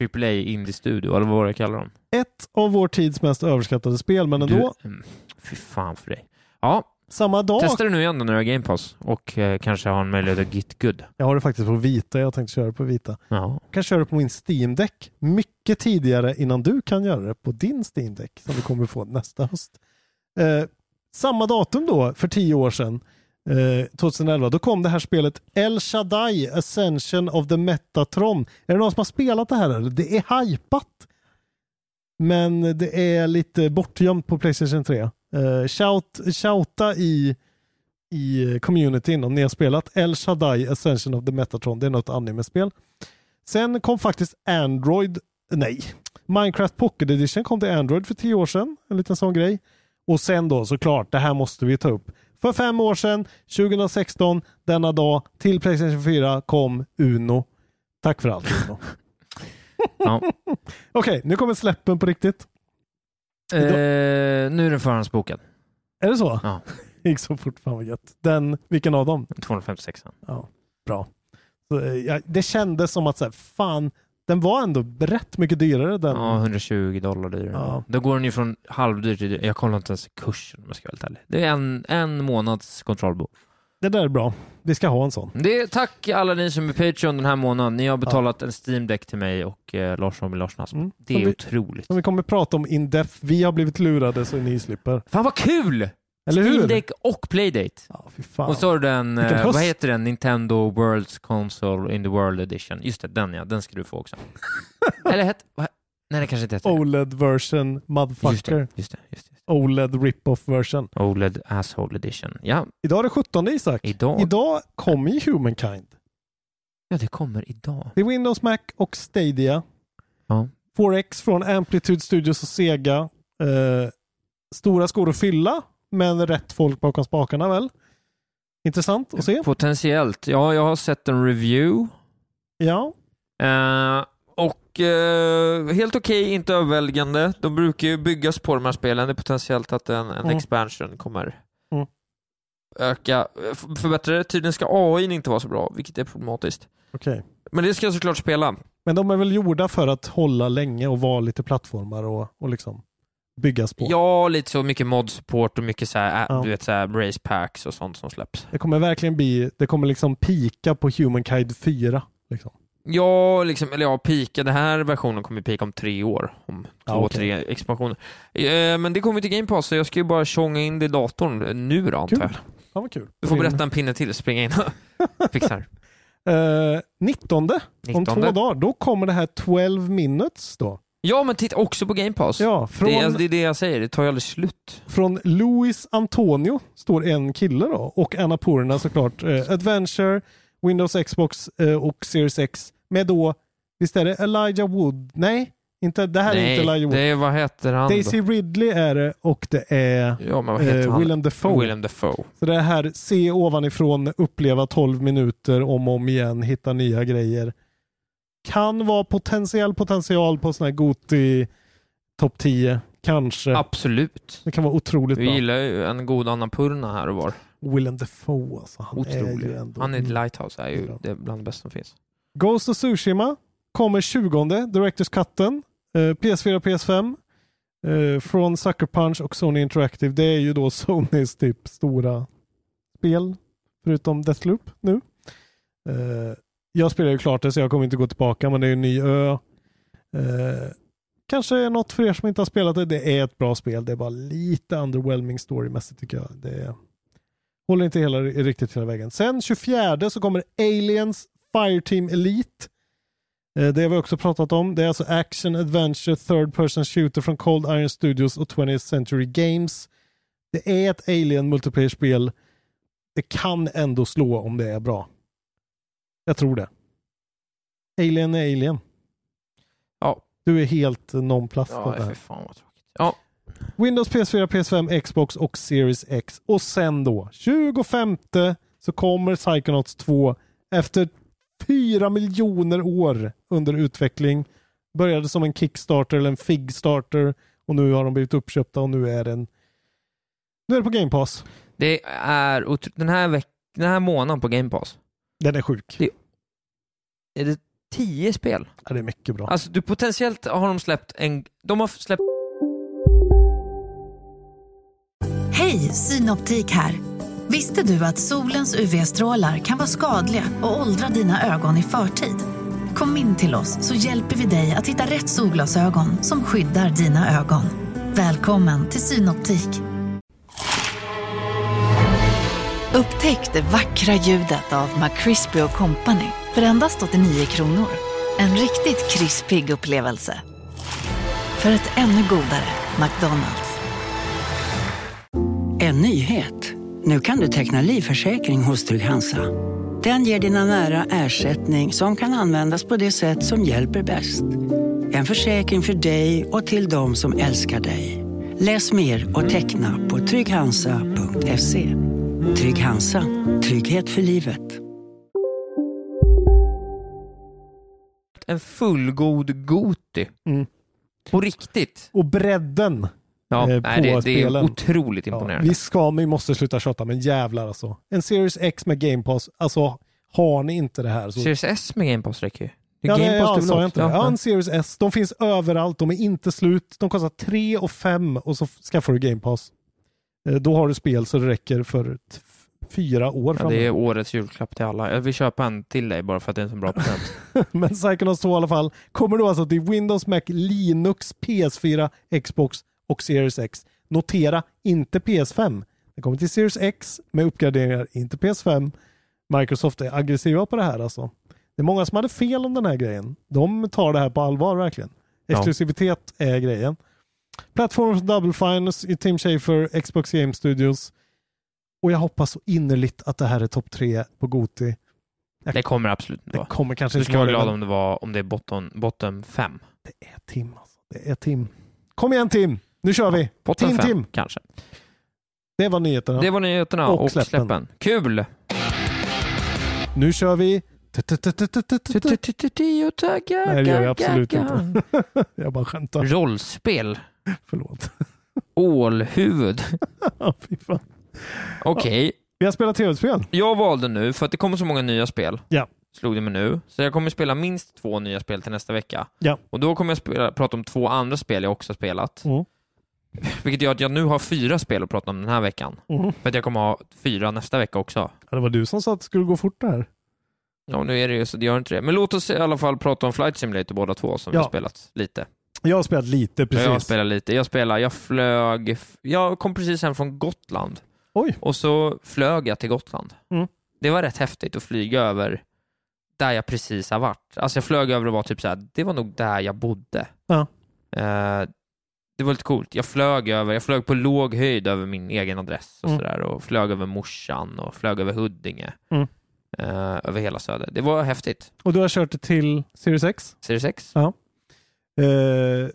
AAA indie-studio, eller vad jag kallar dem. Ett av vår tids mest överskattade spel, men ändå. Du, mm, fy fan för dig. Ja, Samma dag. testa det nu igen då när du har Game Pass och eh, kanske har en möjlighet att get good. Jag har det faktiskt på vita, jag tänkte köra på vita. Ja. kan köra på min steam Deck mycket tidigare innan du kan göra det på din steam Deck som du kommer få nästa höst. Eh, samma datum då, för tio år sedan, eh, 2011, då kom det här spelet El Shaddai Ascension of the Metatron. Är det någon som har spelat det här? eller? Det är hypat. Men det är lite bortgömt på Playstation 3. Eh, shout, shouta i i communityn om ni har spelat El Shaddai Ascension of the Metatron. Det är något animespel. Sen kom faktiskt Android, nej, Minecraft Pocket Edition kom till Android för tio år sedan. En liten sån grej. Och sen då såklart, det här måste vi ta upp. För fem år sedan, 2016, denna dag, till Playstation 4 kom Uno. Tack för allt Uno. ja. Okej, nu kommer släppen på riktigt. Eh, nu är den förhandsbokad. Är det så? Ja. Det gick så fort, fan vad gött. Den, vilken av dem? 256. Bra. Så, eh, ja, det kändes som att så här, fan, den var ändå rätt mycket dyrare den. Ja, 120 dollar dyrare. Mm. Ja. Då går den ju från halvdyr till dyr. Jag kollar inte ens kursen om jag ska vara helt ärlig. Det är en, en månads kontrollbo. Det där är bra. Vi ska ha en sån. Det är, tack alla ni som är Patreon den här månaden. Ni har betalat en Steam Deck till mig och eh, Lars Robin Larsson. Asp. Mm. Det Som är vi- otroligt. Som vi kommer prata om in depth. Vi har blivit lurade så ni slipper. Fan vad kul! Eller hur? Steam Deck och Playdate. Ja, fy fan. Och så har du den, Vilken eh, höst. vad heter den, Nintendo World's Console in the World Edition. Just det, den ja. Den ska du få också. Eller het, vad- Nej, det kanske inte Oh, heter det. OLED-version, Just E det. motherfucker. Just det, just det. OLED rip-off version. OLED Asshole Edition. Ja, Idag är det 17 Isak. idag. Idag kommer ju Humankind. Ja, det kommer idag. Det är Windows, Mac och Stadia. Ja. 4X från Amplitude Studios och Sega. Eh, stora skor att fylla, men rätt folk bakom spakarna väl? Intressant att se. Potentiellt. Ja, jag har sett en review. Ja, Eh, och eh, helt okej, inte överväldigande. De brukar ju byggas på de här spelen. Det är potentiellt att en, en Mm. expansion kommer Mm. öka, eh, f- förbättra det. Tydligen ska AI n inte vara så bra, vilket är problematiskt. okej. Men det ska jag såklart spela. Men de är väl gjorda för att hålla länge och vara lite plattformar och, och liksom byggas på. Ja, lite så mycket mod-support och mycket så här, äh, Ja. du vet, så här race packs och sånt som släpps. Det kommer verkligen bli, det kommer liksom pika på Humankind 4. Liksom. Ja, liksom, eller ja, pika. Den här versionen kommer pika om tre år. Om två, Ja, okej. tre expansioner. Eh, men det kommer till Game Pass, så jag ska ju bara tjonga in det i datorn nu då, antar Kul. jag. Fan vad kul. Du får berätta en pinne till, springa in och fixar. Eh, 19, om 19. två dagar, då kommer det här 12 minutes då. Ja, men titta också på Game Pass. Ja, Det, från, är, alltså, det är det jag säger, det tar ju aldrig slut. från Luis Antonio står en kille då och Annapurna såklart. Eh, Adventure, Windows, Xbox eh, och Series X med då, visst är det Elijah Wood? Nej, inte, det här är Nej, inte Elijah Wood. det är, vad heter han? då? Daisy Ridley är det och det är Ja, men vad heter eh, han? Willem Dafoe. Willem Dafoe. Så det här se ovanifrån, uppleva 12 minuter om och om igen, hitta nya grejer. Kan vara potentiell potential på sån här Goti topp 10, kanske. Absolut. Det kan vara otroligt Vi bra. gillar ju en god Annapurna här och var. Willem Dafoe alltså, han är Otrolig. ju ändå... Han i Lighthouse är ju Bra. det är bland det bästa som finns. Ghost of Tsushima kommer 20, Directors Cutten, eh, PS4 och PS5 eh, från Sucker Punch och Sony Interactive. Det är ju då Sonys typ stora spel, förutom Deathloop nu. Eh, jag spelar ju klart det så jag kommer inte gå tillbaka men det är ju en ny ö. Eh, kanske är något för er som inte har spelat det. Det är ett bra spel. Det är bara lite underwhelming storymässigt tycker jag. Det är... Håller inte hela, riktigt hela vägen. Sen 24 så kommer Aliens Fireteam Elite. Eh, Det har vi också pratat om. Det är alltså action, adventure, third person shooter från Cold Iron Studios och 20th Century Games. Det är ett alien multiplayer-spel. Det kan ändå slå om det är bra. Jag tror det. Alien är alien. Ja. Du är helt nonplast på Ja, det här. fy fan vad tråkigt. Ja, Windows, PS4, PS5, Xbox och Series X. Och sen då, 25 så kommer Psychonauts 2 efter 4 miljoner år under utveckling. Började som en Kickstarter eller en Figstarter och nu har de blivit uppköpta och nu är den nu är det på Game Pass. det är otro... den, här veck... den här månaden på Game Pass, Den är sjuk. är det tio spel? Ja, det är mycket bra. Alltså du, potentiellt har de släppt en... De har släppt... Hej, Synoptik här. Visste du att solens UV-strålar kan vara skadliga och åldra dina ögon i förtid? Kom in till oss så hjälper vi dig att hitta rätt solglasögon som skyddar dina ögon. Välkommen till Synoptik. Upptäck det vackra ljudet av McCrispy Company för endast 89 kronor. En riktigt krispig upplevelse. För ett ännu godare McDonalds. En nyhet. Nu kan du teckna livförsäkring hos Trygg-Hansa. Den ger dina nära ersättning som kan användas på det sätt som hjälper bäst. En försäkring för dig och till de som älskar dig. Läs mer och teckna på trygghansa.se. Trygg Hansa, trygghet för livet. en fullgod Goti. Mm. På riktigt. Och bredden. Ja, Eh, nej, på det, det är spelen. otroligt Ja, imponerande. vi ska, men vi måste sluta tjata, men jävlar alltså. En Series X med Game Pass, alltså har ni inte det här så Series S med Game Pass räcker ju. Det är Ja, Game nej, Pass ja, du sa vill jag ha. inte. Ja, Ja, ja. en Series S. De finns överallt. De är inte slut. De kostar 3 och 5 och så skaffar du Game Pass. Eh, Då har du spel så det räcker för t- fyra år Ja, det framöver. är årets julklapp till alla. Jag vill köpa en till dig bara för att det är en så bra present. Men Psychonauts 2 i alla fall kommer då alltså till Windows, Mac, Linux, PS4, Xbox och Series X. Notera, inte PS5. Det kommer till Series X med uppgraderingar, inte PS5. Microsoft är aggressiva på det här alltså. Det är många som hade fel om den här grejen. De tar det här på allvar verkligen. Ja. Exklusivitet är grejen. Plattformen för Double Fines i Tim Schafer, Xbox Game Studios. Och jag hoppas så innerligt att det här är topp tre på Goti. Jag- Det kommer absolut inte Det vara. kommer kanske Du inte ska vara det, glad men om det, var, om det är botten, botten fem. Det är Tim alltså. Det är Tim. Kom igen Tim! Nu kör vi! Botten Tim, fem, Tim. kanske. Det var nyheterna. Det var nyheterna Och och, släppen. släppen. Kul! Nu kör vi... Nej, det gör jag absolut inte. jag bara skämtar. Rollspel. Förlåt. Ålhuvud. Ja, fy fan. Okej, Vi har spelat tv-spel. jag valde nu, för att det kommer så många nya spel, Ja. slog det mig nu, så jag kommer spela minst två nya spel till nästa vecka. Ja. Och då kommer jag spela, prata om två andra spel jag också har spelat. Mm. Vilket gör att jag nu har fyra spel att prata om den här veckan. Mm. För att jag kommer ha fyra nästa vecka också. Ja, det var du som sa att det skulle gå fort där. Ja, nu är det ju så, det gör inte det. Men låt oss i alla fall prata om Flight Simulator båda två, som vi Ja. har spelat lite. Jag har spelat lite precis. Jag spelade lite. Jag spelade, jag flög, jag kom precis hem från Gotland. Oj. Och så flög jag till Gotland. Mm. Det var rätt häftigt att flyga över där jag precis har varit. Alltså jag flög över och var typ så här, det var nog där jag bodde. Ja. Eh, det var lite coolt. Jag flög över, jag flög på låg höjd över min egen adress och Mm. sådär och flög över morsan och flög över Huddinge. Mm. Eh, över hela söder. Det var häftigt. Och du har kört det till Series X. Series 6? Eh,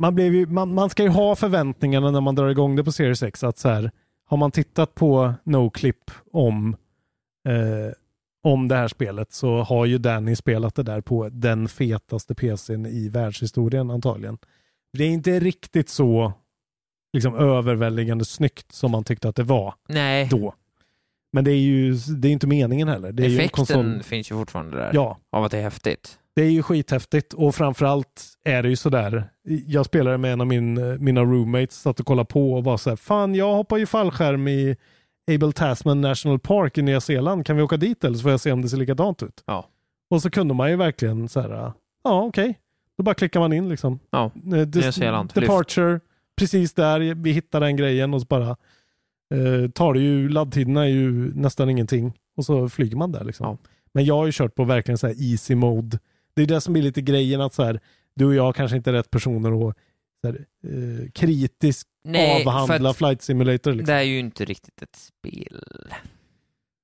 man, blev ju, man, man ska ju ha förväntningarna när man drar igång det på Series X. Att så här, har man tittat på NoClip om, eh, om det här spelet så har ju Danny spelat det där på den fetaste PCn i världshistorien antagligen. Det är inte riktigt så liksom, överväldigande snyggt som man tyckte att det var Nej, då. Men det är ju det är inte meningen heller. Det är ju en effekten konsol... finns ju fortfarande där. Ja, Av att det är häftigt. det är ju skithäftigt och framförallt är det ju sådär. Jag spelade med en av min, eh, mina roommates, satt och kollade på och bara såhär, fan jag hoppar ju fallskärm i Abel Tasman National Park i Nya Zeeland. Kan vi åka dit eller så får jag se om det ser likadant ut? Ja. Och så kunde man ju verkligen så här, ja okej. Då bara klickar man in liksom. Ja, Eh, des- Nya Zeeland, Departure, precis där, vi hittar den grejen och så bara eh, tar det ju, laddtiderna är ju nästan ingenting och så flyger man där liksom. Ja. Men jag har ju kört på verkligen så här easy mode. Det är det som blir lite grejen att så här, du och jag kanske inte är rätt personer att så här, eh, kritiskt Nej, för avhandla att flight simulator. Liksom. det är ju inte riktigt ett spel.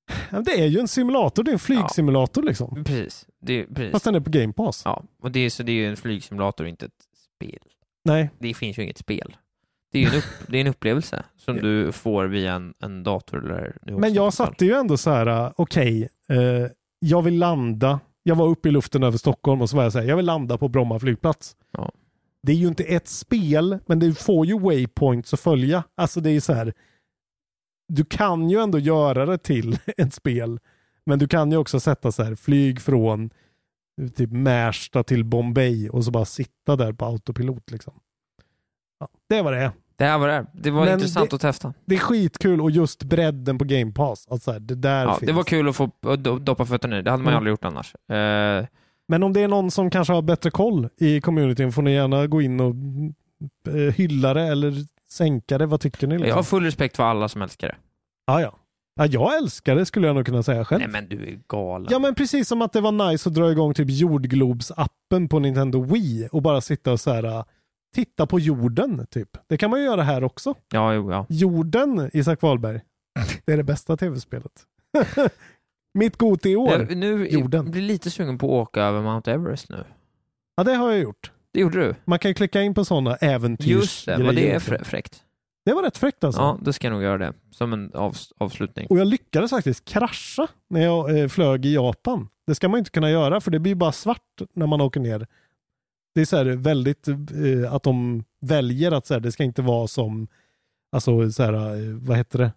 Ja, men Det är ju en simulator, det är en flygsimulator liksom. Precis. Det, är- precis. Fast den är på game pass. Ja, och det är, så det är ju en flygsimulator, inte ett spel. Nej, Det finns ju inget spel. Det är ju en, upp, det är en upplevelse som du får via en, en dator eller... Nu men också en jag konsol. satte ju ändå så här, eh, okej, eh, jag vill landa. Jag var uppe i luften över Stockholm och så var jag så här, jag vill landa på Bromma flygplats. Ja. Det är ju inte ett spel, men du får ju waypoints att följa. Alltså det är ju så här, du kan ju ändå göra det till ett spel, men du kan ju också sätta så här, flyg från eh, typ Märsta till Bombay och så bara sitta där på autopilot liksom. Ja, det var det är. Det här var det. här. Det var Men intressant det- att testa. Det är skitkul och just bredden på Game Pass. Alltså här, det där Ja, finns. det var kul att få att do- doppa fötterna i. Det hade man ju Mm. aldrig gjort annars. Eh, Men om det är någon som kanske har bättre koll i communityn får ni gärna gå in och mm, eh, hylla det eller sänka det. Vad tycker ni? jag har Liksom? full respekt för alla som älskar det. Ja, ja. Ja, jag älskar det skulle jag nog kunna säga själv. Nej men du är galen. Ja men precis som att det var nice att dra igång typ jordglobsappen på Nintendo Wii och bara sitta och så här äh, titta på jorden typ. Det kan man ju göra här också. Ja, jo, ja. Jorden. Jorden, Isak Wahlberg. Det är det bästa tv-spelet. Mitt goti i år. Jag, nu Jorden. blir lite sugen på att åka över Mount Everest nu. Ja det har jag gjort. Det gjorde du. Man kan ju klicka in på sådana äventyrs... Just det, vad det är frä- fräckt. Det var rätt fräckt liksom. alltså. Ja, då ska jag nog göra det. Som en avs- avslutning. Och jag lyckades faktiskt krascha när jag eh, flög i Japan. Det ska man ju inte kunna göra för det blir ju bara svart när man åker ner. Det är så här väldigt eh, att de väljer att så här, det ska inte vara som, alltså så här, eh, vad heter det?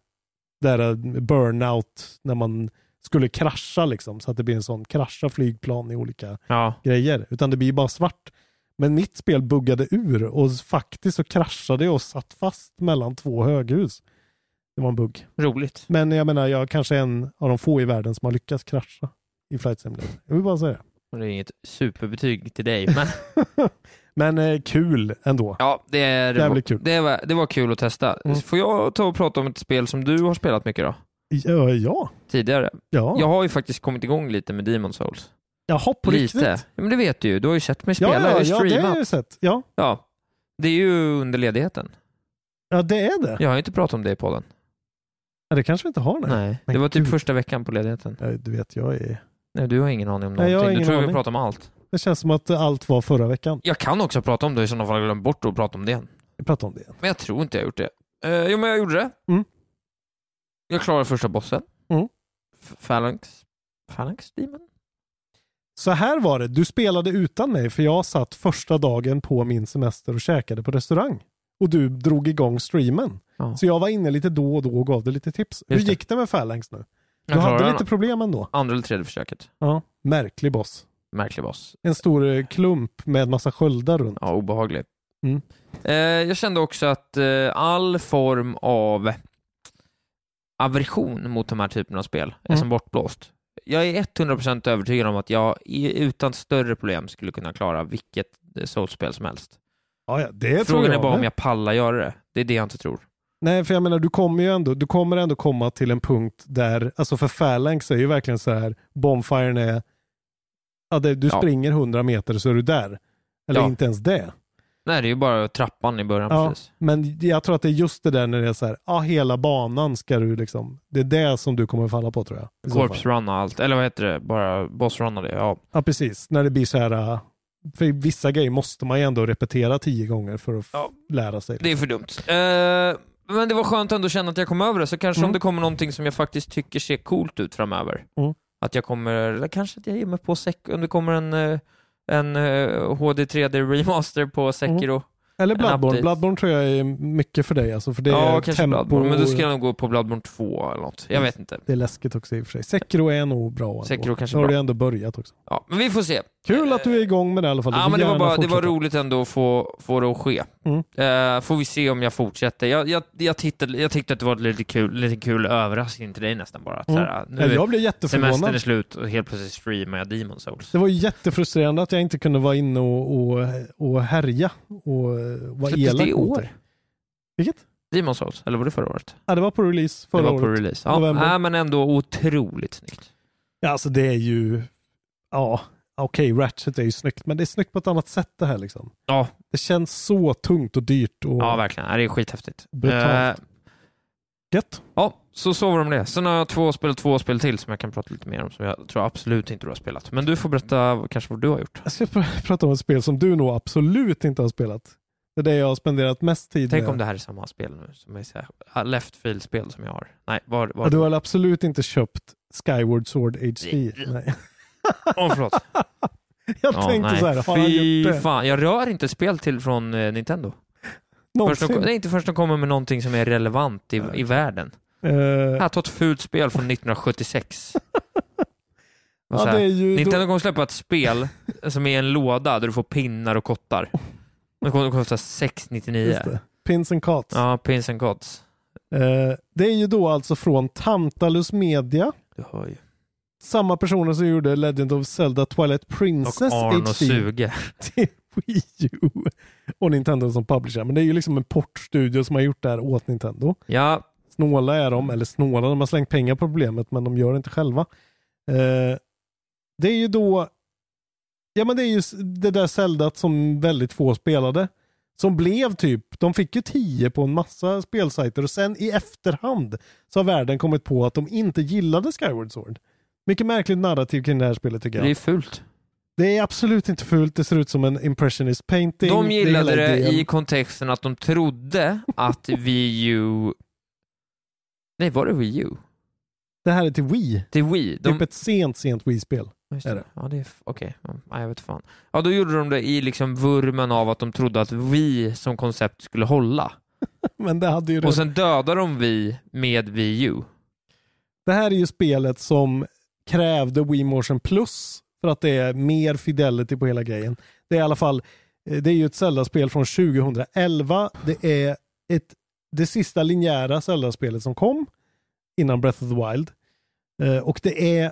Där eh, burnout när man skulle krascha liksom så att det blir en sån krascha flygplan i olika Ja. grejer utan det blir bara svart. Men mitt spel buggade ur och faktiskt så kraschade jag och satt fast mellan två höghus. Det var en bugg. Roligt. Men jag menar, jag kanske är en av de få i världen som har lyckats krascha i Flight Simulator. Jag vill bara säga det. Och det är inget superbetyg till dig, men Men eh, kul ändå. ja, det, är, Jävligt kul. Det, var, det var kul att testa. Mm. Får jag ta och prata om ett spel som du har spelat mycket då? Ja, ja. Tidigare. ja. Jag har ju faktiskt kommit igång lite med Demon Souls. Jaha, på Lite. riktigt? Ja, men det vet du ju. Du har ju sett mig spela. Ja, jag har ja, ju ja, det har streamat. jag ju sett. Ja, Ja. Det är ju under ledigheten. ja det är det. Jag har ju inte pratat om det i podden. Ja, det kanske vi inte har nu. Nej. Men Det var typ gud. första veckan på ledigheten. Ja, du vet, jag är... Nej, du har ingen aning om Nej, någonting. jag har du ingen tror jag vi aning. pratar om allt. Det känns som att allt var förra veckan. Jag kan också prata om det i sådana fall. Jag glömde bort att prata om det igen. Vi pratar om det igen. Men jag tror inte jag har gjort det. Eh, jo, men jag gjorde det. Mm. Jag klarade första bossen. Mm. F- Phalanx... Phalanx Demon? Så här var det, du spelade utan mig för jag satt första dagen på min semester och käkade på restaurang. Och du drog igång streamen. Ja. Så jag var inne lite då och då och gav dig lite tips. Hur Just det. gick det med Phalanx nu? Jag Du klarade hade den. lite problem ändå. Andra eller tredje försöket. Ja. Märklig boss. Märklig boss. En stor eh, klump med massa sköldar runt. Ja, obehaglig. Mm. Eh, jag kände också att eh, all form av aversion mot de här typerna av spel är Mm. som bortblåst. Jag är 100% övertygad om att jag i- utan större problem skulle kunna klara vilket eh, Souls-spel som helst. Ja, ja, det tror Frågan jag. är bara med. om jag pallar göra det. Det är det jag inte tror. Nej, för jag menar, du kommer ju ändå, du kommer ändå komma till en punkt där, alltså för Phalanx är ju verkligen så här, Bonfiren är, ja, det, du Ja. springer 100 meter så är du där. Eller Ja. inte ens det. Nej, det är ju bara trappan i början Ja, precis. men jag tror att det är just det där när det är så här, ja, hela banan ska du liksom, det är det som du kommer falla på tror jag. i så fall. Corpse runna allt, eller vad heter det? Bara bossrunna det. Ja. Ja, precis. När det blir så här, äh, för vissa grejer måste man ju ändå repetera tio gånger för att f- Ja. lära sig. Det är för dumt. Eh, men det var skönt ändå att känna att jag kom över det, så kanske om Mm. det kommer någonting som jag faktiskt tycker ser coolt ut framöver. Mm. Att jag kommer, eller kanske att jag ger mig på Sek- om det kommer en, eh, en eh, HD 3D remaster på Sekiro. Mm. Eller En Bloodborne. update. Bloodborne tror jag är mycket för dig alltså, för det ja, är kanske tempo. Bloodborne, men då ska jag nog gå på Bloodborne 2 eller något. Jag vet inte. Det är läskigt också i och för sig. Sekiro är nog bra ändå. Sekiro kanske Då har bra. du ändå börjat också. Ja, men vi får se. Kul att du är igång med det i alla fall. Du Ja, får men det, var gärna bara, det var fortsätta. roligt ändå att få, få det att ske. Mm. Eh, får vi se om jag fortsätter. Jag, jag, jag, tittade, jag tyckte att det var lite kul, lite kul överraskning till dig nästan bara. Att, Mm. såhär, nu Ja, är jag blev Semestern är jätteförvånad. slut och helt plötsligt streamar jag Demon Souls. Det var ju jättefrustrerande att jag inte kunde vara inne och, och, och härja och eh, vara Släpptes det elak i mot år? dig. Vilket? Demon Souls, eller var det förra året? Ja, det var på release förra det var på året. release. Ja, November. nej, men ändå otroligt snyggt. Ja, alltså det är ju... Ja, okej, Ratchet är ju snyggt, men det är snyggt på ett annat sätt det här liksom. Ja. Det känns så tungt och dyrt och Ja, verkligen. Ja, Det är skithäftigt. Brutalt. Eh, gött. ja, så så var det om det. Sen har jag två spel, två spel till som jag kan prata lite mer om, som jag tror absolut inte du har spelat. Men du får berätta kanske vad du har gjort. Jag ska pr- prata om ett spel som du nog absolut inte har spelat. Det är det jag har spenderat mest tid Tänk med. om det här är samma spel nu, som är så här, ah, left field-spel som jag har. Nej, var, Ja, var... du har absolut inte köpt Skyward Sword HD? Nej. Åh, förlåt. Jag Ja, tänkte nej. så här, har han Fy gjort det? fan, jag rör inte spel till från eh, Nintendo. Först de, Någonsin? nej, inte först de kommer med någonting som är relevant i, i världen. Eh, Här, ta ett fult spel från 1976. Och ja, så här, det är ju Nintendo då, kommer släppa ett spel som är en låda där du får pinnar och kottar. Det kommer att kosta just 699. det. Pins and Cots. Ja, pins and gods. Eh, det är ju då alltså från Tantalus Media, Du hör ju. samma personer som gjorde Legend of Zelda Twilight Princess Och Arn och HD Suge. till Wii U. Och Nintendo som publisher. Men det är ju liksom en portstudio som har gjort det här åt Nintendo. Ja, Snåla är de, eller snåla, de har slängt pengar på problemet men de gör det inte själva. Eh, det är ju då, ja men det är ju s- det där Zelda som väldigt få spelade. Som blev typ, de fick ju 10 på en massa spelsajter och sen i efterhand så har världen kommit på att de inte gillade Skyward Sword. Mycket märkligt narrativ kring det här spelet tycker det är jag. fult. Det är absolut inte fult, det ser ut som en impressionist painting. De är gillade hela det idén. i kontexten att de trodde att Wii U... Nej, var det Wii U? Det här är till Wii, Det är Wii. De... typ ett sent, sent Wii-spel. Just Är det. det? Ja, det är... f- Okej, Mm, nej, jag vet fan. Ja, då gjorde de det i liksom vurmen av att de trodde att vi som koncept skulle hålla. Men det hade ju Och sen dödar de vi med Wii U. Det här är ju spelet som krävde Wii Motion Plus för att det är mer fidelity på hela grejen. Det är i alla fall, eh, det är ju ett Zelda-spel från 2011. Det är ett, det sista linjära Zelda-spelet som kom innan Breath of the Wild. Eh, Och det är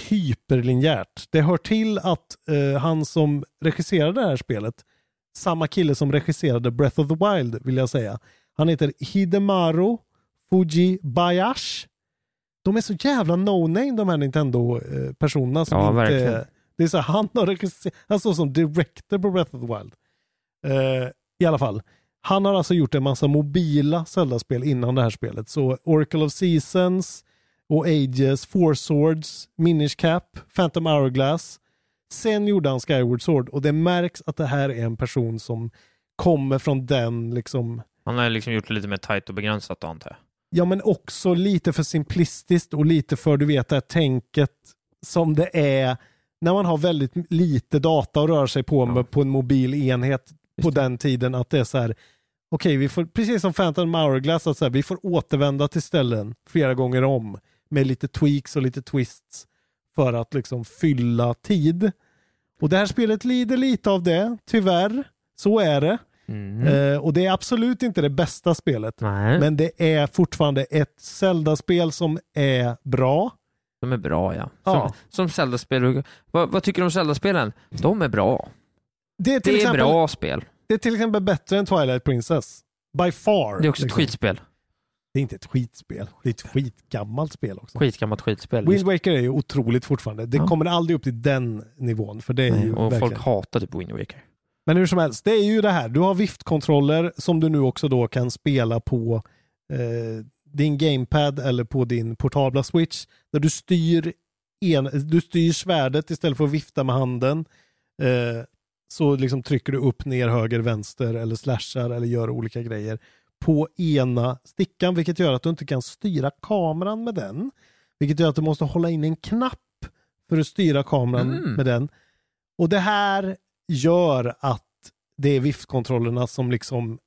hyperlinjärt. Det hör till att eh, han som regisserade det här spelet, samma kille som regisserade Breath of the Wild vill jag säga. Han heter Hidemaru Fujibayashi de är så jävla no-name de här Nintendo-personerna som Ja, inte verkligen. Det är så här, han har regisserat, han står som director på Breath of the Wild. Eh, I alla fall. Han har alltså gjort en massa mobila Zelda-spel innan det här spelet. Så Oracle of Seasons, och Ages, Four Swords, Minish Cap, Phantom Hourglass. Sen gjorde han Skyward Sword och det märks att det här är en person som kommer från den liksom Han har liksom gjort det lite mer tajt och begränsat då, antar jag. Ja, men också lite för simplistiskt och lite för, du vet, det här tänket som det är när man har väldigt lite data att röra sig på med på en mobil enhet på den tiden. Att det är så här, okej, vi får, precis som Phantom Hourglass, att så här, vi får återvända till ställen flera gånger om med lite tweaks och lite twists för att liksom fylla tid. Och det här spelet lider lite av det, tyvärr. Så är det. Eh, och det är absolut inte det bästa spelet. Mhm. Nej, Men det är fortfarande ett Zelda-spel som är bra. de är bra ja. Som, Ja. som Zelda-spel. Vad, vad tycker du om Zelda-spelen? De är bra. Det är, till Det är exempel, bra spel. det är till exempel bättre än Twilight Princess. By far. Det är också ett liksom. skitspel. Det är inte ett skitspel. Det är ett skitgammalt spel också. Skitgammalt skitspel. Wind Waker är ju otroligt fortfarande. Det Ja. kommer aldrig upp till den nivån. För det är ju Mm, och verkligen... folk hatade på Wind Waker. Men hur som helst, det är ju det här. Du har viftkontroller som du nu också då kan spela på eh, din gamepad eller på din portabla switch. Där du styr, en, du styr svärdet istället för att vifta med handen. Eh, så liksom trycker du upp, ner, höger, vänster eller slashar eller gör olika grejer på ena stickan vilket gör att du inte kan styra kameran med den. Vilket gör att du måste hålla in en knapp för att styra kameran Mm. med den. Och det här gör att det är viftkontrollerna som liksom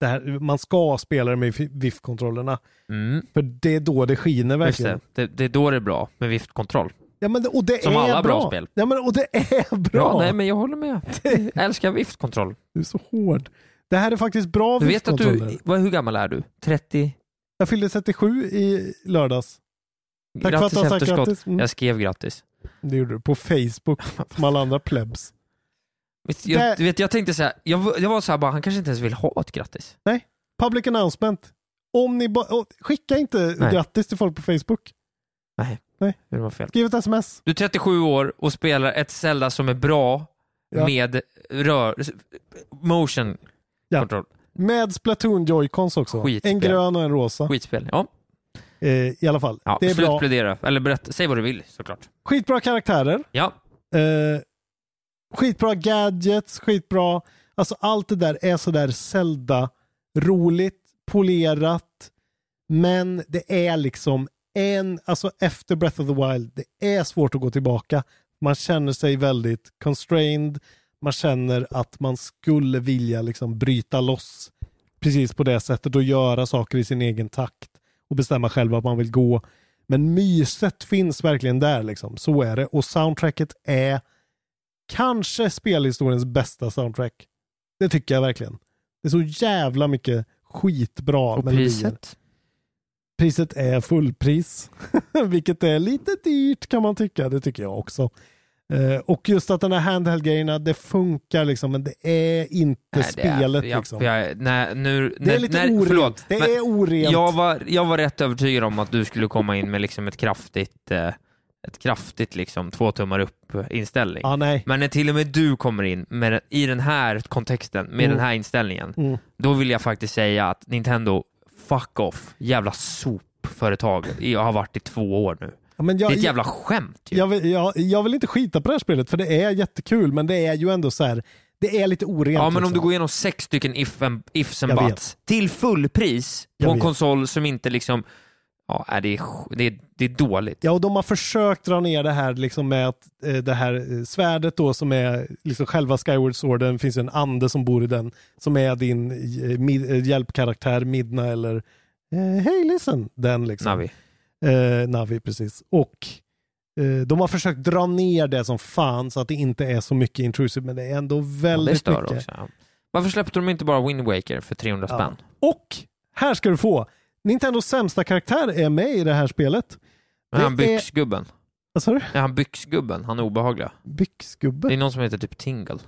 det här, man ska spela det med viftkontrollerna. Mm, För det är då det skiner just verkligen. det. det. Det är då det är bra, med viftkontroll. Ja, men, det- och det Som är alla bra bra spel. Ja, men, och det är bra. Ja, nej men jag håller med. Jag älskar viftkontroll. Du är så hård. Det här är faktiskt bra Du vet att viftkontroller. du, vad, hur gammal är du? 30? Jag fyllde 37 i lördags. Tack för att du Grattis har sagt efterskott. grattis. Mm, Jag skrev grattis. det gjorde du på Facebook som alla andra plebs. Vet, jag, Det- du vet, jag tänkte så här, jag, var- jag var så här bara, han kanske inte ens vill ha ett grattis. Public announcement. Om ni ba- och, skicka inte Nej. grattis till folk på Facebook. Det var fel. Skriv ett sms. Du är 37 år och spelar ett Zelda som är bra Ja. med rör, motion Ja. control. Med Splatoon Joy-Cons också. Skitspel. En grön och en rosa. Skitspel. Ja. Eh, I alla fall. Ja, det är bra. slutplädera. Eller berätta, säg vad du vill såklart. Skitbra karaktärer. Ja, Eh, skitbra gadgets, skitbra... Alltså allt det där är sådär Zelda. Roligt, polerat. Men det är liksom en... Alltså efter Breath of the Wild, det är svårt att gå tillbaka. Man känner sig väldigt constrained. Man känner att man skulle vilja liksom bryta loss precis på det sättet och göra saker i sin egen takt och bestämma själv vart man vill gå. Men myset finns verkligen där liksom. Så är det. Och soundtracket är kanske spelhistoriens bästa soundtrack. Det tycker jag verkligen. Det är så jävla mycket skitbra och melodier. priset. Priset är fullpris, vilket är lite dyrt kan man tycka. Det tycker jag också. Eh, och just att den här handheld-grejerna, det funkar liksom, men det är inte Nej, det är- spelet. jag- liksom. jag- nej, nu, det är nej, lite nej, orent. förlåt, det men- är orent. Jag var, jag var rätt övertygad om att du skulle komma in med liksom ett kraftigt, eh, ett kraftigt liksom två tummar upp inställning. Ja, nej. Men när till och med du kommer in med, i den här kontexten, med Mm. den här inställningen, Mm. då vill jag faktiskt säga att Nintendo, fuck off, jävla sopföretag. Jag har varit i två år nu. Ja, men jag, det är ett jävla skämt ju. jag, vill, jag, jag vill inte skita på det här spelet, för det är jättekul, men det är ju ändå så här, det är lite orent. Ja men om liksom. du går igenom sex stycken if and, ifs and Jag vet. buts till fullpris på Jag en vet. som konsol inte liksom, ja nej, det är, sj- det är, det är dåligt. Ja, och de har försökt dra ner det här liksom med att eh, det här eh, svärdet då som är liksom själva Skyward Sworden, det finns ju en ande som bor i den som är din eh, mid, eh, hjälpkaraktär Midna eller eh, Hey listen, den liksom. Navi. Eh, Navi, precis. Och eh, de har försökt dra ner det som fan så att det inte är så mycket intrusive, men det är ändå Ja, det väldigt stör mycket. också. ja. Varför släppte de inte bara Wind Waker för 300 Ja. spänn? Och här ska du få, Nintendos sämsta karaktär är med i det här spelet. Men Det han är- byxgubben. Vad sa du? Ja, han byxgubben, han är obehaglig. Byxgubbe? Det är någon som heter typ Tingle.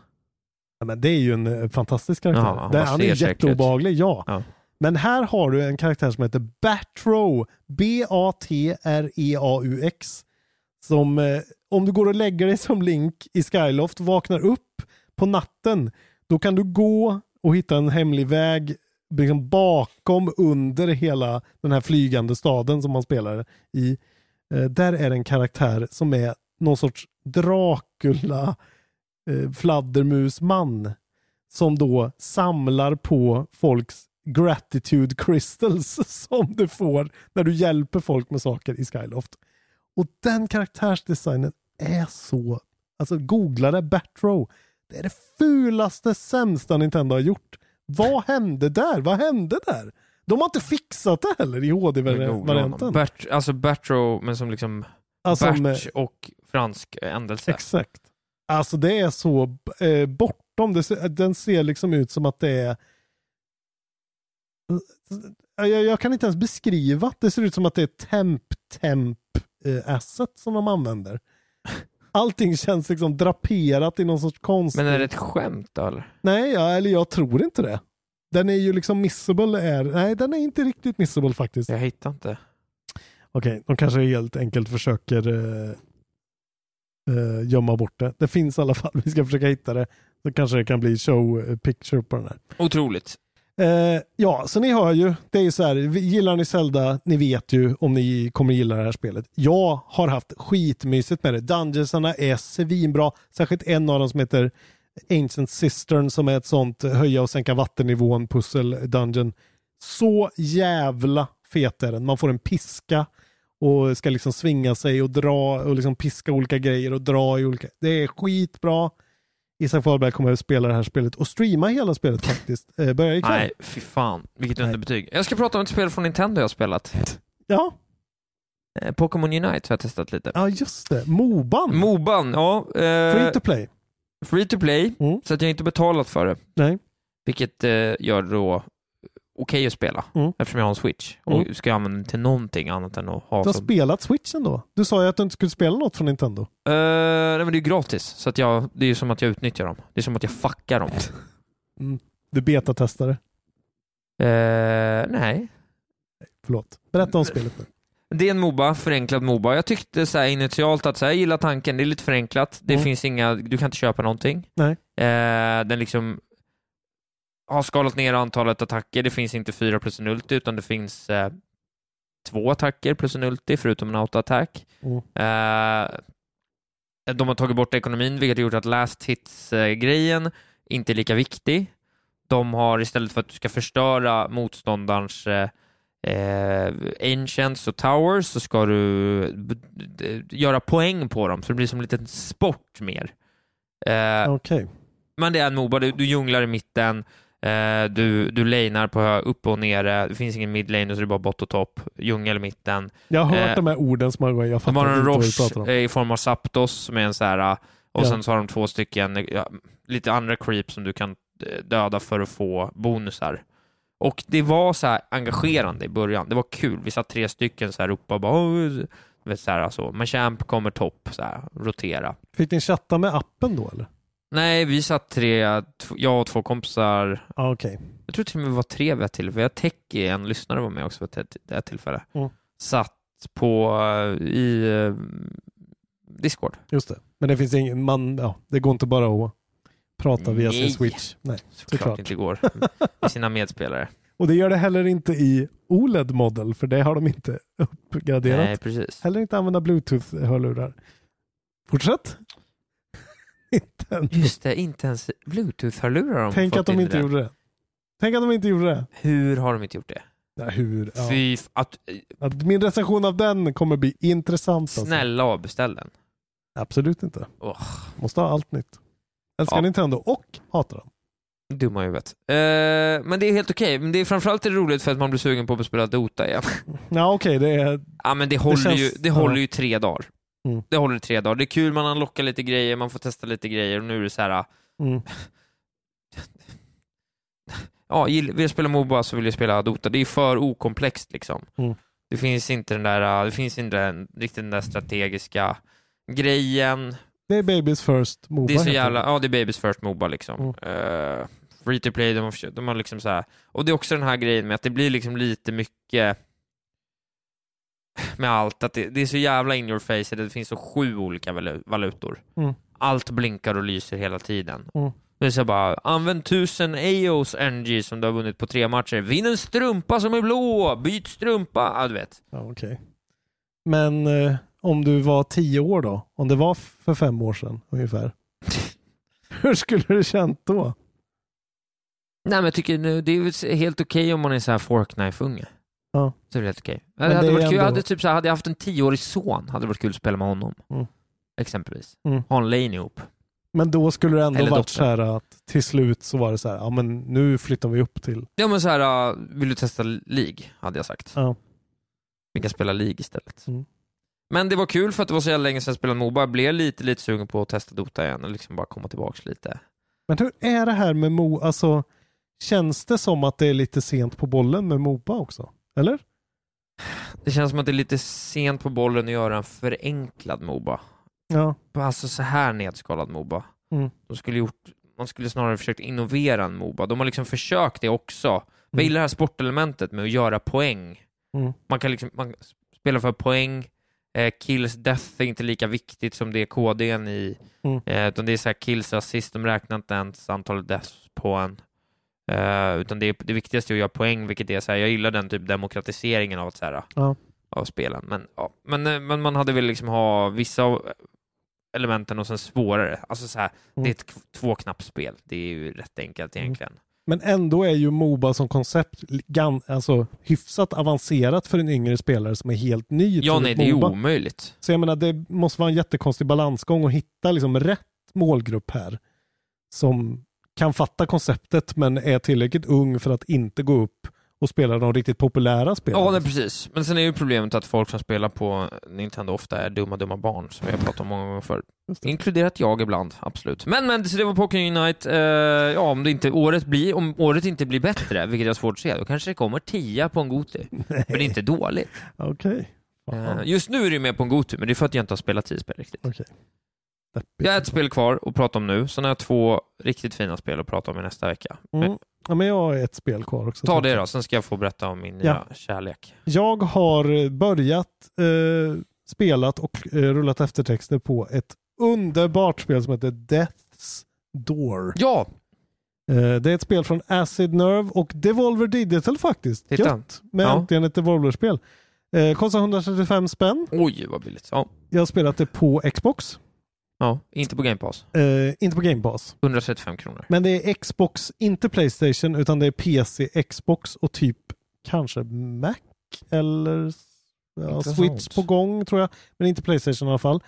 Ja, men det är ju en eh, fantastisk karaktär. Ja, han Där bara han ser är säkert jätteobehaglig, ja. Ja. Men här har du en karaktär som heter E Batrow. B-A-T-R-E-A-U-X. Som eh, om du går och lägger dig som Link i Skyloft, vaknar upp på natten, då kan du gå och hitta en hemlig väg liksom bakom, under hela den här flygande staden som man spelar i. Eh, där är det en karaktär som är någon sorts Dracula eh, fladdermusman som då samlar på folks gratitude crystals som du får när du hjälper folk med saker i Skyloft. Och den karaktärsdesignen är så... Alltså googla det, Batrow. Det är det fulaste, sämsta Nintendo har gjort. Vad hände där? Vad hände där? De har inte fixat det heller i HD-varianten. Bert, alltså Bertro, men som liksom Alltså, Bert med- och fransk eh, ändelse. Exakt. Alltså det är så eh, bortom. Det, ser- den ser liksom ut som att det är... Eh, Jag, jag kan inte ens beskriva att det ser ut som att det är temp-temp-asset som de använder. Allting känns liksom draperat i någon sorts konst. men är det ett skämt då eller? Nej, ja, eller jag tror inte det. Den är ju liksom missable. Är... Nej, den är inte riktigt missable faktiskt. Jag hittar inte. Okej, de kanske helt enkelt försöker eh, eh, gömma bort det. Det finns i alla fall. Vi ska försöka hitta det. Så kanske det kan bli show eh, picture på den här. Otroligt. Eh, ja, så ni hör ju. Det är ju så här, vi- gillar ni Zelda, ni vet ju om ni kommer gilla det här spelet. Jag har haft skitmysigt med det. Dungeonsarna är svinbra, särskilt en av dem som heter Ancient Cistern som är ett sånt höja och sänka vattennivån pussel dungeon. Så jävla fet är den. Man får en piska och ska liksom svinga sig och dra och liksom piska olika grejer och dra i olika. Det är skitbra. Isak Wahlberg kommer att spela det här spelet och streama hela spelet faktiskt. Eh, börjar ikväll. Nej, fy fan. Vilket Nej. underbetyg. Jag ska prata om ett spel från Nintendo jag har spelat. Ja, Eh, Pokémon Unite har jag testat lite. ja just det. Moban. Moban, ja. eh, Mm. Free to play. free to play, Mm. så att jag inte betalat för det. Nej. Vilket eh, gör då okej att spela, Mm. eftersom jag har en switch. Mm. Och ska jag använda den till någonting annat än att ha Du har som... spelat switchen då? Du sa ju att du inte skulle spela något från Nintendo. Eh, nej men det är ju gratis, så att jag, det är ju som att jag utnyttjar dem. Det är som att jag fuckar dem. Du betatestade. Eh, nej. Förlåt. Eh, Berätta om spelet nu. Det är en Moba, förenklad Moba. Jag tyckte så här initialt att så här, jag gillar tanken, det är lite förenklat. Det Mm. finns inga, du kan inte köpa någonting. Nej. Eh, den liksom har skalat ner antalet attacker. Det finns inte fyra plus en ulti, utan det finns eh, två attacker plus en ulti, förutom en autoattack. Mm. Eh, de har tagit bort ekonomin, vilket har gjort att last hits-grejen inte är lika viktig. De har istället för att du ska förstöra motståndarens eh, eh, ancients och towers så ska du b- d- göra poäng på dem, så det blir som en liten sport mer. Eh, Okej. men det är en Moba, du, du junglar i mitten, eh, du, du lanar på hö- upp och nere, det finns ingen midlane, så det är bara bot och topp, djungel i mitten. Jag har hört Eh, de här orden som har gått. Jag De har fattar en inte vad du Roche pratar om. eh, i form av Zapdos som är en så här, eh, och Ja. sen så har de två stycken eh, ja, lite andra creep som du kan eh, döda för att få bonusar. Och det var så här engagerande i början, det var kul. Vi satt tre stycken så här uppe och bara "Åh", du vet, så här, alltså. Men champ kommer topp, så här, rotera. Fick ni chatta med appen då eller? Nej, vi satt tre, t- jag och två kompisar, Ja, okej. jag tror till och med vi var tre vid ett tillfälle, jag Techie, en lyssnare var med också vid ett, ett tillfälle, Mm. satt på, eh, i eh, Discord. Just det. Men det finns ingen, man, ja, det går inte bara att prata via sin Nej. switch. Nej. Såklart, Såklart. inte går med sina medspelare. Och det gör det heller inte i OLED model för det har de inte uppgraderat. Nej, precis. Heller inte använda bluetooth-hörlurar. Fortsätt. Nintendo. Just det, inte ens bluetooth-hörlurar har de Tänk fått att de in inte där. gjorde det. Tänk att de inte gjorde det. Hur har de inte gjort det? Ja, hur? Ja. Fy f- att, eh, Att min recension av den kommer bli intressant. Alltså. snälla avbeställ den. Absolut inte. Åh. Måste ha allt nytt. Älskar Ja. Nintendo och hatar den. Dumma huvudet. Eh, men det är helt okej, men det är framförallt är det roligt för att man blir sugen på att spela Dota igen. Ja, okej. det är... ja men det håller, känns- ju, det ja. håller ju tre dagar. Mm. Det håller i tre dagar. Det är kul, man unlockar lite grejer, man får testa lite grejer och nu är det så här. ah. Mm. ja, gill- vill jag spela Moba så vill jag spela Dota. Det är för okomplext liksom. Mm. Det finns inte den där, uh, det finns inte den, riktigt den där strategiska grejen. Det är Babies First Moba. Det är så heter Mm. jävla, ja det är Babys First Moba liksom. Eh, free to play, de har, försökt- de har liksom så här. Och det är också den här grejen med att det blir liksom lite mycket med allt, att det, det är så jävla in your face, det finns så sju olika valu- valutor. Mm. Allt blinkar och lyser hela tiden. Mm. Det är så bara, använd tusen AOs NG som du har vunnit på tre matcher. Vinn en strumpa som är blå! Byt strumpa! Ja, du vet. Ja, okej. Men eh, om du var tio år då? Om det var f- för fem år sedan ungefär. Hur skulle du känt då? Nej men jag tycker nu- det är väl helt okej om man är så här forkknife-unge. Ja. Så är det helt okej. Men Det hade det är varit kul, jag ändå- hade, typ så här, hade jag haft en tioårig son hade det varit kul att spela med honom. Mm. Exempelvis. Mm. Ha en lane ihop. Men då skulle det ändå Eller varit dotter. så här att till slut så var det så här, ja men nu flyttar vi upp till, Ja men så här, uh, vill du testa League? Hade jag sagt. Ja. Vi kan spela League istället. Mm. Men det var kul för att det var så jävla länge sedan jag spelade Moba. Jag blev lite, lite sugen på att testa Dota igen och liksom bara komma tillbaks lite. men hur är det här med Mo, alltså känns det som att det är lite sent på bollen med Moba också? Eller? Det känns som att det är lite sent på bollen att göra en förenklad Moba. Ja. Alltså så här nedskalad Moba. Mm. De skulle gjort, man skulle snarare försökt innovera en Moba. De har liksom försökt det också. Jag gillar det här sportelementet med att göra poäng. Mm. Man kan liksom man spelar för poäng. Eh, kills death är inte lika viktigt som det är KDn i. Mm. Eh, utan det är så här kills och assist, de räknar inte ens antalet deaths på en. Eh, utan det, är, det viktigaste är att göra poäng, vilket är så här, jag gillar den typ demokratiseringen av, så här, Ja. av spelen. Men, ja. men, eh, men man hade väl liksom ha vissa av elementen och sen svårare. Alltså så här, Mm. det är ett k- tvåknappsspel. Det är ju rätt enkelt egentligen. Men ändå är ju Moba som koncept gan, alltså, hyfsat avancerat för en yngre spelare som är helt ny Ja, till nej, det är ju MOBA. omöjligt. Så jag menar, det måste vara en jättekonstig balansgång att hitta liksom rätt målgrupp här som kan fatta konceptet men är tillräckligt ung för att inte gå upp och spela de riktigt populära spelen. Ja, nej, precis. Men sen är ju problemet att folk som spelar på Nintendo ofta är dumma, dumma barn, som vi har pratat om många gånger förr. Just det. Inkluderat jag ibland, absolut. Men, men, så det var Pokémon Unite. Eh, ja, om, det inte, året blir, om året inte blir bättre, vilket jag har svårt att se, då kanske det kommer 10 på en Goty. Men det är inte dåligt. Okej. Eh, just nu är det ju med på en Goty, men det är för att jag inte har spelat 10 spel riktigt. Jag har ett spel kvar att prata om nu, sen har jag två riktigt fina spel att prata om i nästa vecka. Mm. Ja, men jag har ett spel kvar också. Ta det då, sen ska jag få berätta om min nya kärlek. Jag har börjat eh, spelat och eh, rullat eftertexter på ett underbart spel som heter Death's Door. Ja, Eh, det är ett spel från Acid Nerve och Devolver Digital faktiskt. Titta. Gött med Ja. äntligen ett Devolver-spel. Eh, kostar 135 spänn. oj vad billigt. Ja, Jag har spelat det på Xbox. ja. inte på Game Pass. Eh, inte på Game Pass. 135 kronor. Men det är Xbox, inte Playstation, utan det är PC, Xbox och typ kanske Mac eller ja, Intressant. Switch på gång tror jag. Men inte Playstation i alla fall.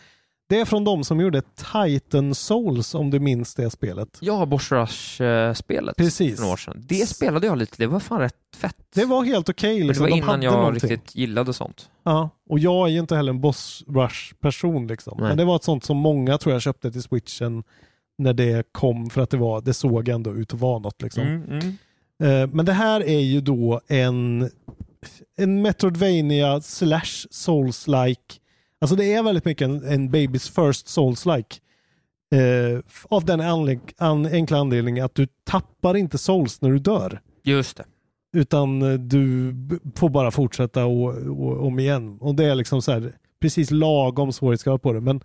Det är från de som gjorde Titan Souls om du minns det spelet. Ja, Bosch Rush-spelet Precis. för några år sedan. Det spelade jag lite, det var fan rätt fett. Det var helt okej. Men det liksom. var De innan hade jag någonting. riktigt gillade sånt. Ja, och jag är ju inte heller en boss rush person liksom. Nej. Men det var ett sånt som många tror jag köpte till switchen när det kom för att det, var, det såg ändå ut att vara något liksom. Mm. Eh, Men det här är ju då en, en Metroidvania slash Souls-like. Alltså det är väldigt mycket en, en Babys First Souls-like. Eh, f- av den anle- an, enkla anledningen att du tappar inte Souls när du dör. Just det. Utan eh, du b- får bara fortsätta och, och, om igen. Och det är liksom så här, precis lagom svårighetsgrad på det. Men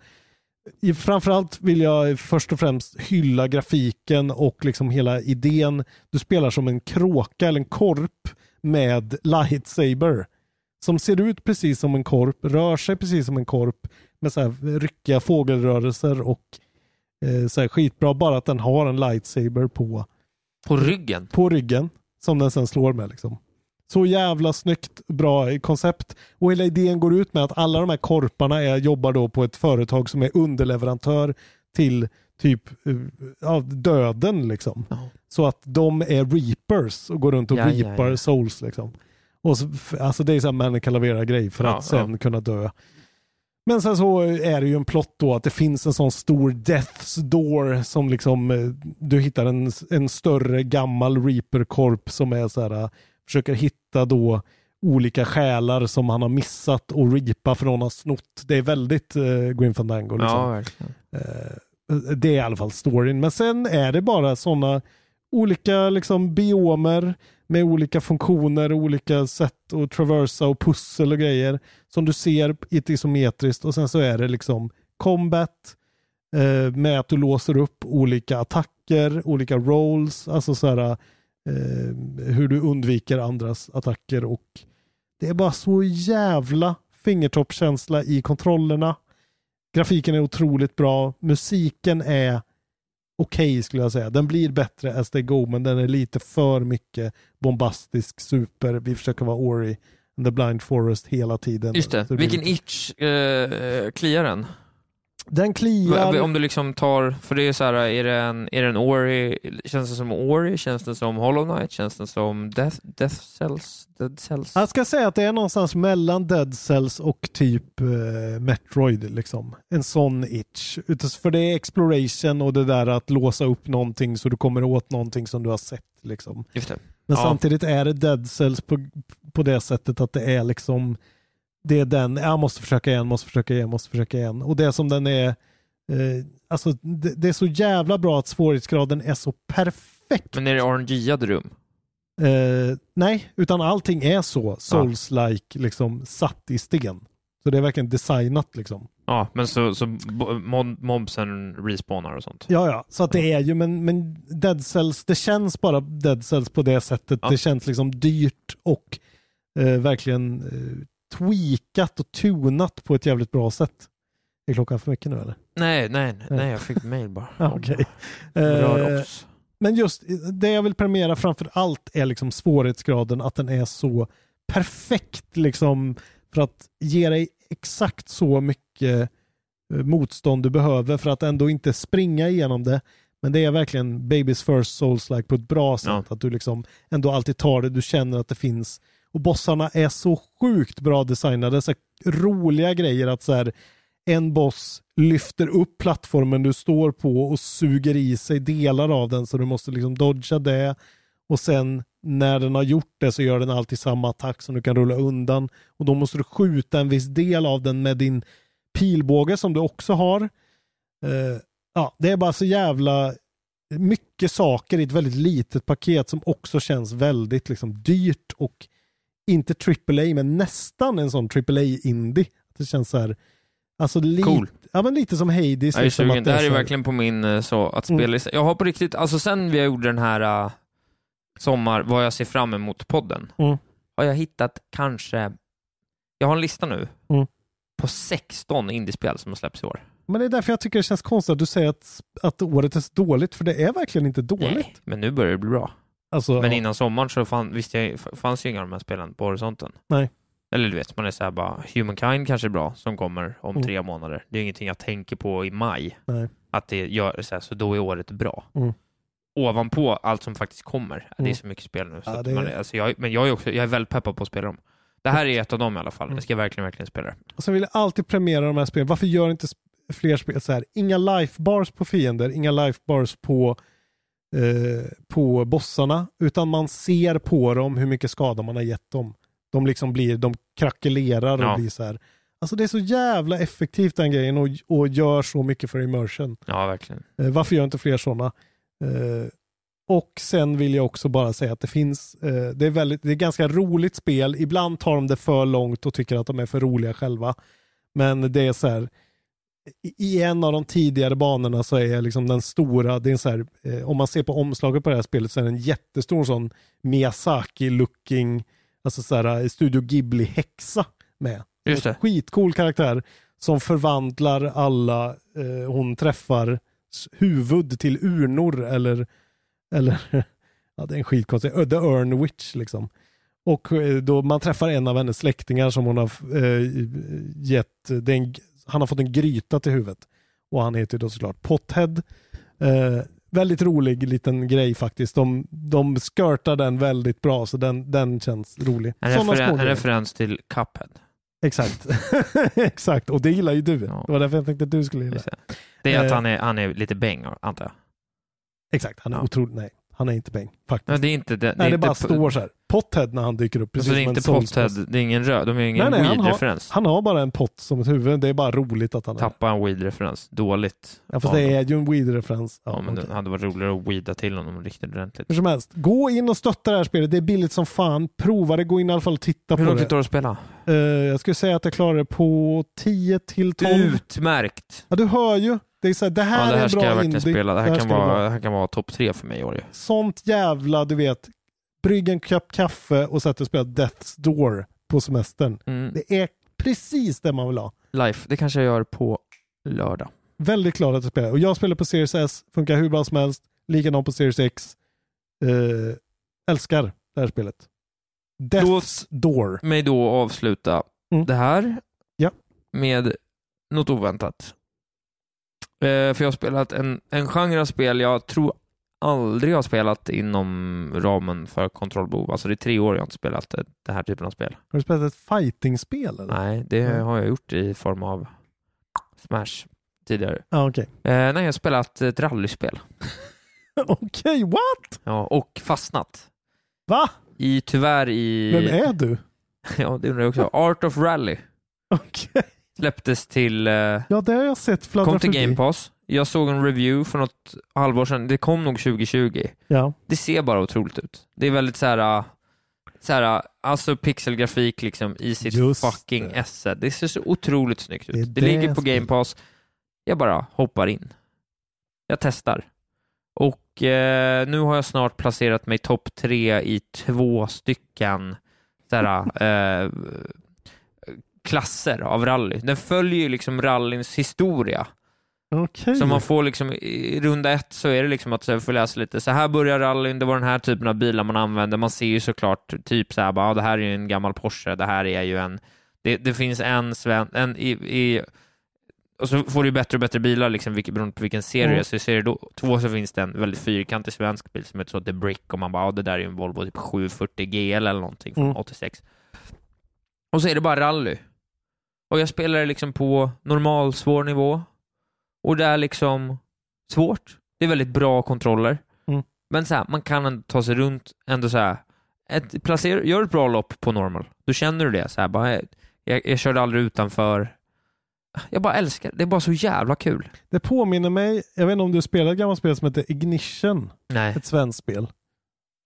i- framförallt vill jag först och främst hylla grafiken och liksom hela idén. Du spelar som en kråka eller en korp med lightsaber. Som ser ut precis som en korp, rör sig precis som en korp med så här ryckiga fågelrörelser och eh, så här skitbra. Bara att den har en lightsaber på På ryggen. på ryggen som den sen slår med. Liksom. Så jävla snyggt, bra koncept. Och hela idén går ut med att alla de här korparna är, jobbar då på ett företag som är underleverantör till typ eh, ja, döden. Liksom. Ja. Så att de är reapers och går runt och Ja, ja, reapar ja. souls. Liksom. Och så, f- alltså det är så här man calavera grej för Ja, att sen kunna dö. Men sen så är det ju en plott då att det finns en sån stor death's door som liksom eh, du hittar en, en större gammal reaper-korp som är så här, eh, försöker hitta då olika själar som han har missat och reapa för någon har snott. Det är väldigt eh, Grim Fandango. Liksom. Ja, verkligen. Eh, Det är i alla fall storyn. Men sen är det bara sådana olika liksom biomer. med olika funktioner och olika sätt att traversa och pussel och grejer som du ser i ett isometriskt och sen så är det liksom combat eh, med att du låser upp olika attacker, olika rolls, alltså så här, eh, hur du undviker andras attacker och det är bara så jävla fingertoppskänsla i kontrollerna. Grafiken är otroligt bra, musiken är okej skulle jag säga. Den blir bättre as they go, men den är lite för mycket bombastisk super. Vi försöker vara Ori and the blind forest hela tiden. Just det. Så blir Vilken lite- itch eh, kliar den? Den kliar. Om du liksom tar, för det är så här, är det en, är det en Ori, känns det som Ori, känns det som Hollow Knight, känns det som Death, Death Cells, Dead Cells? Jag ska säga att det är någonstans mellan Dead Cells och typ eh, Metroid. Liksom. En sån itch. Utas- För det är exploration och det där att låsa upp någonting så du kommer åt någonting som du har sett. Liksom. Just det. Men Ja. samtidigt är det Dead Cells på, på det sättet att det är liksom det är den, jag måste försöka igen, måste försöka igen, måste försöka igen. Och det som den är, eh, alltså det, det är så jävla bra att svårighetsgraden är så perfekt. Men är det RNG-ade rum? Eh, nej, utan allting är så souls-like, liksom satt i sten. Så det är verkligen designat liksom. Ja, men så, så bo- mob- mobsen respawnar och sånt? Ja, ja, så att det är ju, men, men Dead Cells, det känns bara Dead Cells på det sättet. Ja. Det känns liksom dyrt och eh, verkligen eh, tweakat och tunat på ett jävligt bra sätt. Är klockan för mycket nu eller? Nej, nej, nej, Nej. nej, jag fick mail bara. Ja, okej. Rör Eh, oss. Men just det jag vill premiera framför allt är liksom svårighetsgraden, att den är så perfekt liksom för att ge dig exakt så mycket eh, motstånd du behöver för att ändå inte springa igenom det. Men det är verkligen Babies First Souls like på ett bra sätt. Att du liksom ändå alltid tar det, du känner att det finns. Och bossarna är så sjukt bra designade. Så här roliga grejer att så här, en boss lyfter upp plattformen du står på och suger i sig delar av den så du måste liksom dodga det och sen när den har gjort det så gör den alltid samma attack som du kan rulla undan och då måste du skjuta en viss del av den med din pilbåge som du också har. Eh, ja, det är bara så jävla mycket saker i ett väldigt litet paket som också känns väldigt liksom, dyrt och inte AAA men nästan en sån AAA-indie. Det känns så här, alltså lite, Cool. ja, men lite som Hades. Jag är liksom, sugen. att Det här så är här- verkligen på min eh, så, att Mm. spellista. Jag har på riktigt, alltså sen vi gjorde den här eh, sommar, vad jag ser fram emot podden, Mm. har jag hittat kanske, jag har en lista nu, Mm. på 16 indiespel som har släppts i år. Men det är därför jag tycker det känns konstigt att du säger att, att året är så dåligt, för det är verkligen inte dåligt. Nej, men nu börjar det bli bra. Alltså, Men ja. innan sommaren så fann, visste jag, f- fanns ju inga av de här spelen på horisonten. Nej. Eller du vet, man är så här bara, Humankind kanske är bra, som kommer om Mm. tre månader. Det är ingenting jag tänker på i maj. Nej. Att det gör så här, så då är året bra. Mm. Ovanpå allt som faktiskt kommer. Det är Mm. så mycket spel nu. Så Ja, att det är- man, är- alltså jag, men jag är, också, jag är väldigt peppad på att spela dem. Det här är ett av dem i alla fall. Mm. Jag ska verkligen, verkligen spela det. Och sen vill jag alltid premiera de här spelen. Varför gör inte sp- fler spel så här? Inga lifebars på fiender, inga lifebars på, eh, på bossarna, utan man ser på dem hur mycket skada man har gett dem. De liksom blir, de krackelerar och Ja. blir så här. Alltså det är så jävla effektivt den grejen och, och gör så mycket för immersion. Ja, verkligen. Eh, Varför gör inte fler sådana? Eh, och sen vill jag också bara säga att det finns, eh, det är, väldigt, det är ganska roligt spel. Ibland tar de det för långt och tycker att de är för roliga själva. Men det är så här, i- i en av de tidigare banorna så är liksom den stora, det är en så här, eh, om man ser på omslaget på det här spelet så är det en jättestor sån Miyazaki-looking, alltså så här eh, Studio Ghibli-häxa med. Just det. Skitcool karaktär som förvandlar alla eh, hon träffar s- huvud till urnor eller, eller ja, det är en skitkonstig, Ö, The Urn Witch liksom. Och eh, då man träffar en av hennes släktingar som hon har eh, gett, det är en, han har fått en gryta till huvudet. Och han heter ju då såklart Pothead. Eh, väldigt rolig liten grej faktiskt. De, de skirtar den väldigt bra så den, den känns rolig. En, Sådana referen- små en grejer. referens till Cuphead. Exakt. Exakt, och det gillar ju du. Ja. Det var därför jag tänkte att du skulle gilla. Just det. Det är att Eh. han är, han är lite bäng, antar jag. Exakt, han är Ja. otrolig. Nej, Han är inte Beng, faktiskt. Nej, det är inte det. Nej, det, är bara inte, står så här. Pothead när han dyker upp. Precis alltså, det är som inte en Soulspace. Pothead, det är ingen röd, de är ingen Nej, nej, han har- weed-referens. Han har bara en pott som ett huvud. Det är bara roligt att han är. Tappa en weed-referens, dåligt. Ja, fast av det dem. är ju en weed-referens. Ja, men okej. det hade varit roligare att weeda till honom riktigt ordentligt. Hur som helst, gå in och stötta det här spelet. Det är billigt som fan. Prova det. Gå in i alla fall och titta Hur på långt det. tar det att spela? Eh, jag skulle säga att jag klarar det på 10 till 12. Utmärkt! Ja, du hör ju. Det, är så här, det, här Ja, det är här en ska jag bra verkligen indie. spela. Det här, kan ska det vara, det här kan vara topp tre för mig i år ju. Sånt jävla, du vet, brygg en kopp kaffe och sätt och spela Death's Door på semestern. Mm. Det är precis det man vill ha. Life, det kanske jag gör på lördag. Väldigt glad att jag spelar. Och jag spelar på Series S, funkar hur bra som helst. Likadant på Series X. Eh, älskar det här spelet. Death's Door. mig då avsluta Mm. det här Ja. med något oväntat. Eh, för jag har spelat en, en genre av spel jag tror aldrig jag har spelat inom ramen för kontrollbehov. Alltså det är tre år jag inte spelat eh, den här typen av spel. Har du spelat ett fightingspel eller? Nej, det Mm. har jag gjort i form av Smash tidigare. Ah, Okej, Eh, nej, jag har spelat ett rallyspel Okej, what? ja, och fastnat. Va? I, tyvärr i... Vem är du? Ja, det undrar jag också. Art of Rally Okej. släpptes till eh, Ja, det har jag sett fladdra kom till förbi. Game Pass. Jag såg en review för något halvår sedan. Det kom nog 2020. Ja. Det ser bara otroligt ut. Det är väldigt så här, äh, så här äh, alltså pixelgrafik liksom i sitt Just fucking det. esse. Det ser så otroligt snyggt ut. Det är det Det, ligger på spelet. Game Pass. Jag bara hoppar in. Jag testar. Och eh, nu har jag snart placerat mig topp tre i två stycken så här, eh, klasser av rally. Den följer ju liksom rallyns historia. Okej. Så man får liksom, i runda ett så är det liksom att så här, får läsa lite, så här börjar rallyn, det var den här typen av bilar man använde, man ser ju såklart typ så här, bara, ah, det här är ju en gammal Porsche, det här är ju en, det, det finns en, sven, en i, i, och så får du ju bättre och bättre bilar liksom, vilket, beroende på vilken serie Mm. det är. så i serie då, två så finns det en väldigt fyrkantig svensk bil som heter så The Brick och man bara, ah, det där är ju en Volvo typ 740 GL eller någonting från Mm. 86. Och så är det bara rally. Och jag spelar det liksom på normal svår nivå. Och det är liksom svårt. Det är väldigt bra kontroller. Mm. Men så här, man kan ändå ta sig runt ändå så här. Ett, placer, gör ett bra lopp på normal. Då känner du det. Så här, bara, jag, jag körde aldrig utanför. Jag bara älskar det. Det är bara så jävla kul. Det påminner mig, jag vet inte om du spelar ett gammalt spel som heter Ignition. Nej. Ett svenskt spel.